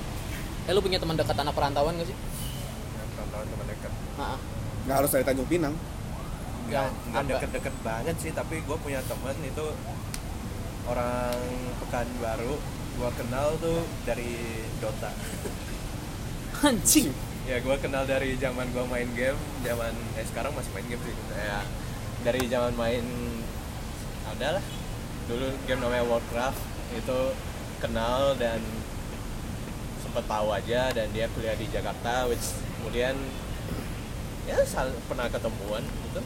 A: Eh lu punya teman dekat anak perantauan gak sih?
C: teman-teman teman dekat
A: Heeh.
B: Nggak harus dari Tanjung Pinang.
C: nggak
A: Yang
C: nggak
A: apa?
C: deket-deket banget sih tapi gue punya temen itu orang Pekanbaru gue kenal tuh dari Dota
A: Anjing.
C: ya gue kenal dari zaman gue main game zaman eh sekarang masih main game sih ya dari zaman main adalah dulu game namanya Warcraft itu kenal dan sempet tahu aja dan dia kuliah di Jakarta which kemudian ya sal- pernah ketemuan gitu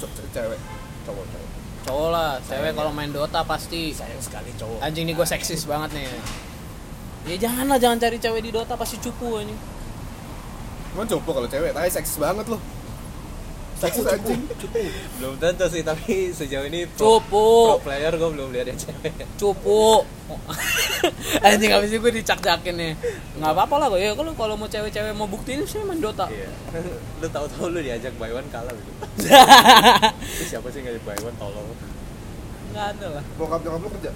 B: Ce- ce- Cewek, cowok cowok.
A: Cowok lah, cewek kalau main Dota pasti.
C: sayang sekali cowok
A: Anjing nih gue seksis banget nih. Ya jangan lah, jangan cari cewek di Dota pasti cupu anjing.
B: Cuman coba kalau cewek, tapi seksis banget loh. Seksis anjing.
C: belum tentu sih tapi sejauh ini pro, pro
A: Cupu,
C: player gue belum lihat yang cewek
A: cupu. anjing habis itu gue dicak-cakin nih. Enggak apa-apa lah gue. Ya kalau kalau mau cewek-cewek mau buktiin sih main Dota.
C: iya lu tahu-tahu lu diajak by one kalah gitu Itu siapa sih ngajak by one tolong
A: Enggak ada lah.
B: Bokap nyokap lu kerja?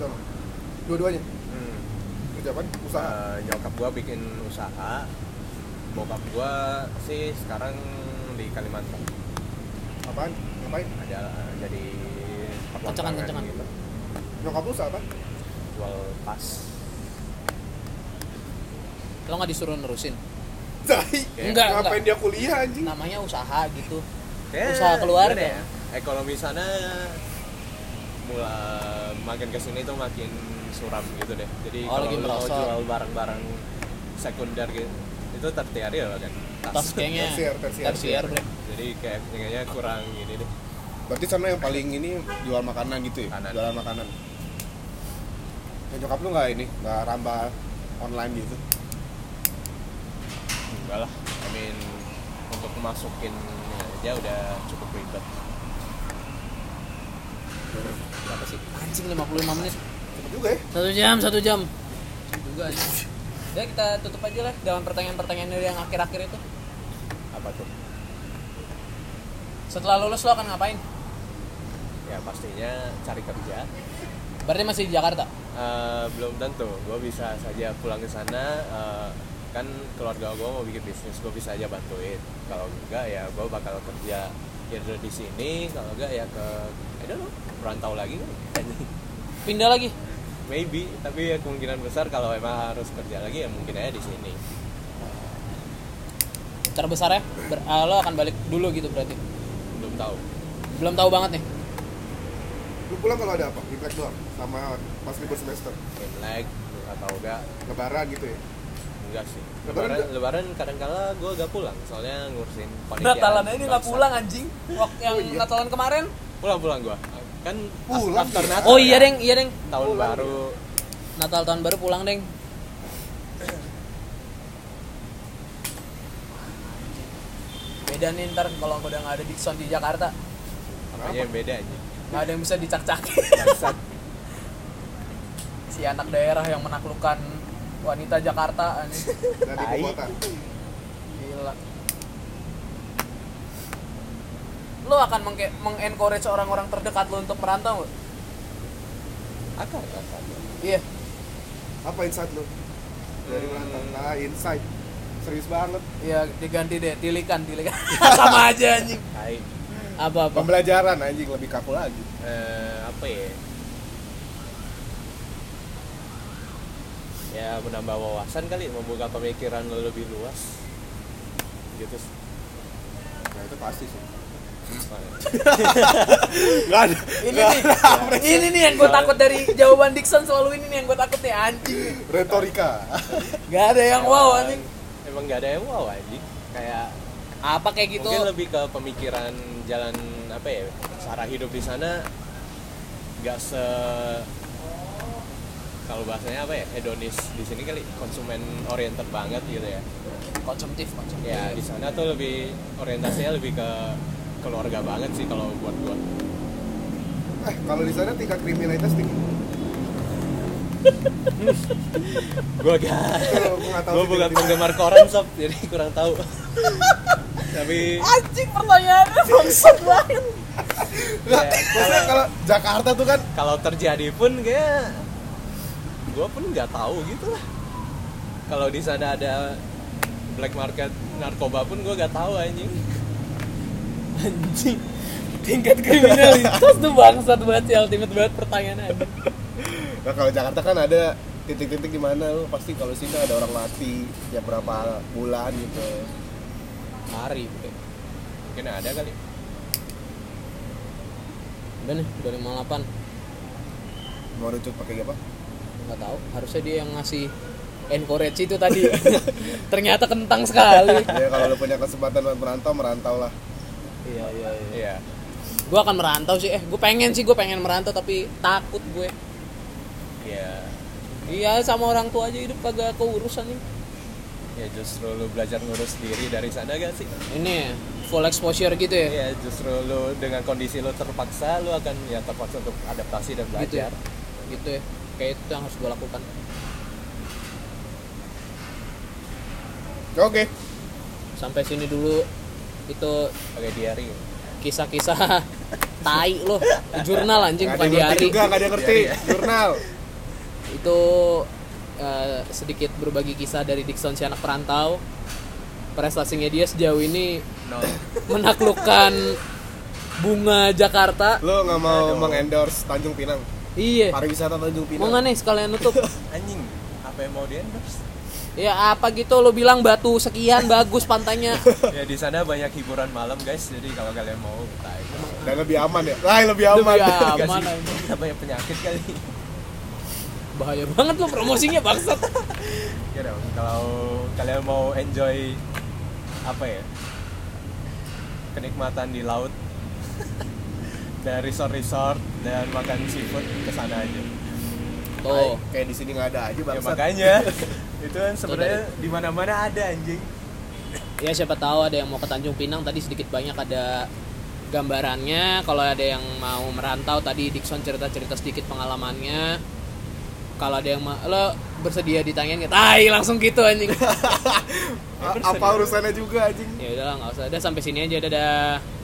B: Sama. Dua-duanya?
C: hmm.
B: Kerja apa? Usaha.
C: Eh, nyokap gua bikin usaha bokap gua sih sekarang di Kalimantan
B: Apaan? Ngapain?
C: ada jadi
A: Kencengan,
C: pertambangan
A: kencengan.
C: gitu
B: Nyokap lu usaha apa?
C: jual pas
A: lo nggak disuruh nerusin
B: Zai,
A: Enggak,
B: ngapain dia kuliah anjing?
A: namanya usaha gitu Usaha keluarga.
C: gimana ya? ekonomi sana mulai makin kesini tuh makin suram gitu deh jadi
A: Oh,
C: kalau
A: lagi
C: lu mau
A: merosot.
C: jual barang-barang sekunder gitu itu tertiari loh kan Iya.
A: tas kayaknya
B: Tersier, tersier.
A: tersier bre.
C: jadi kayak kayaknya kurang gini deh
B: Berarti sana yang paling ini jual makanan gitu ya?
C: Makanan.
B: Jualan makanan. Ya, nyokap lu nggak ini, nggak rambah online gitu?
C: enggak lah I mean untuk masukin aja udah cukup ribet
A: berapa sih anjing 55 menit
B: Cepet juga ya?
A: satu jam satu jam Gitu juga anjing. ya kita tutup aja lah dengan pertanyaan-pertanyaan dari yang akhir-akhir itu
C: apa tuh
A: setelah lulus lo akan ngapain
C: ya pastinya cari kerja
A: berarti masih di Jakarta
C: Eh, belum tentu gue bisa saja pulang ke sana eh, kan keluarga gue mau bikin bisnis gue bisa aja bantuin kalau enggak ya gue bakal kerja either di sini kalau enggak ya ke ada lo perantau lagi kan
A: pindah lagi
C: maybe tapi ya kemungkinan besar kalau emang harus kerja lagi ya mungkin aja di sini
A: terbesar ya Ber- ah, lo akan balik dulu gitu berarti
C: belum tahu
A: belum tahu banget nih
B: Lu pulang kalau ada apa? Imlek doang? Sama pas libur semester?
C: like atau enggak
B: Lebaran gitu ya?
C: enggak sih
B: Lebaran
C: lebaran
B: enggak?
C: lebaran kadang kala gue gak pulang soalnya ngurusin
A: Natalan aja nggak
C: bangsa.
A: pulang anjing waktu yang Natalan kemarin
C: pulang pulang gue kan
B: Pulang
C: after
B: ya?
C: Natal
A: oh iya
C: kan.
A: deng iya deng
C: tahun
B: Pulang
C: baru
A: Natal tahun baru pulang deng beda nih ntar kalau udah nggak ada Dixon di Jakarta
C: apanya yang beda aja
A: nggak ada yang bisa dicak-cak
C: Bangsat.
A: si anak daerah yang menaklukkan wanita Jakarta anjing
B: Nah, di ibu
C: Tai.
B: kota.
A: Gila. Lo akan meng- meng-encourage orang-orang terdekat lo untuk merantau nggak?
C: akan akan
A: Iya.
B: Apa insight lu? Dari mana? Nah, insight. Serius banget.
A: Iya, diganti deh, tilikan, tilikan. Sama aja anjing.
C: Hai.
A: Apa apa?
B: Pembelajaran anjing lebih kaku lagi.
C: Eh, apa ya ya menambah wawasan kali membuka pemikiran lo lebih luas gitu sih.
B: Nah, itu pasti sih.
C: Soalnya-
B: Enggak ada.
A: Ini nih, ini nih yang gue takut dari jawaban Dixon selalu ini nih yang gue takut nih anjing.
B: Retorika.
A: Gak ada yang wow
C: Emang-
A: anjing.
C: emang gak ada yang wow anjing kayak
A: Apa kayak gitu?
C: mungkin lebih ke pemikiran jalan apa ya cara hidup di sana nggak se kalau bahasanya apa ya hedonis di sini kali konsumen oriented banget gitu ya
A: Konsumtif, konsumtif.
C: ya di sana tuh lebih orientasinya lebih ke keluarga banget sih kalau buat gua
B: Eh, kalau di sana tingkat kriminalitas tinggi.
C: gua gak
B: Tuh, gua nggak tahu
C: gua
B: sih
C: bukan
B: tiba-tiba.
C: penggemar koran sob jadi kurang tahu tapi
A: Anjing pertanyaannya bangsat banget.
B: Enggak,
C: Ya,
B: maksudnya kalau Jakarta tuh kan
C: kalau terjadi pun kayak gue pun nggak tahu gitu lah kalau di sana ada black market narkoba pun gue nggak tahu anjing
A: Anjing. Tingkat kriminalitas tuh bangsat banget sih, ultimate banget pertanyaannya anjing.
B: Nah, kalau Jakarta kan ada titik-titik di mana lu pasti kalau sini ada orang mati ya berapa bulan gitu.
C: hari bre. mungkin ada kali
A: Udah nih, udah 58.
B: Mau rucut pakai apa?
A: nggak tahu harusnya dia yang ngasih encourage itu tadi ternyata kentang sekali
B: ya kalau lu punya kesempatan buat merantau, merantau lah.
A: iya iya
C: iya
A: gue akan merantau sih eh gue pengen sih gue pengen merantau tapi takut gue
C: iya
A: iya sama orang tua aja hidup kagak keurusan nih
C: ya justru lu belajar ngurus diri dari sana gak sih
A: ini ya, full exposure gitu ya
C: Iya justru lu dengan kondisi lu terpaksa lu akan ya terpaksa untuk adaptasi dan
A: gitu ya
C: belajar
A: gitu ya kayak itu yang harus gue lakukan
B: Oke.
A: sampai sini dulu itu
C: pakai diary
A: kisah-kisah tai loh jurnal anjing
B: Nggak
A: bukan
B: ada yang
A: diari
B: ngerti juga, nggak ada yang
A: Iya,
B: ngerti. Jurnal.
A: itu eh, sedikit berbagi kisah dari Dixon si anak perantau prestasinya dia sejauh ini
C: no
A: menaklukkan bunga Jakarta
B: Lu nggak mau
C: Aduh.
B: mengendorse Tanjung Pinang.
A: Iya.
B: pariwisata Tanjung Pinang
A: Mau nggak nih sekalian nutup?
C: anjing apa yang mau di endorse
A: ya apa gitu lo bilang batu sekian bagus pantainya.
C: ya di sana banyak hiburan malam guys jadi kalau kalian mau kita ikut.
B: dan lebih aman ya lain lebih aman
A: Lebih aman.
C: Nggak sih,
A: anjing.
C: kita banyak penyakit kali
A: Bahaya banget lo promosinya bangsat.
C: ya dong kalau kalian mau enjoy apa ya kenikmatan di laut dan resort-resort dan makan seafood ke sana aja
A: Tuh.
B: kayak di sini nggak ada aja
C: ya
B: bangsa
C: makanya itu kan sebenarnya di mana-mana ada anjing
A: Ya siapa tahu ada yang mau ke Tanjung Pinang tadi sedikit banyak ada gambarannya. Kalau ada yang mau merantau tadi Dixon cerita-cerita sedikit pengalamannya. Kalau ada yang mau lo bersedia ditanyain nggak? Tai langsung gitu anjing.
B: apa urusannya juga anjing
A: ya udahlah nggak usah. Udah sampai sini aja dadah.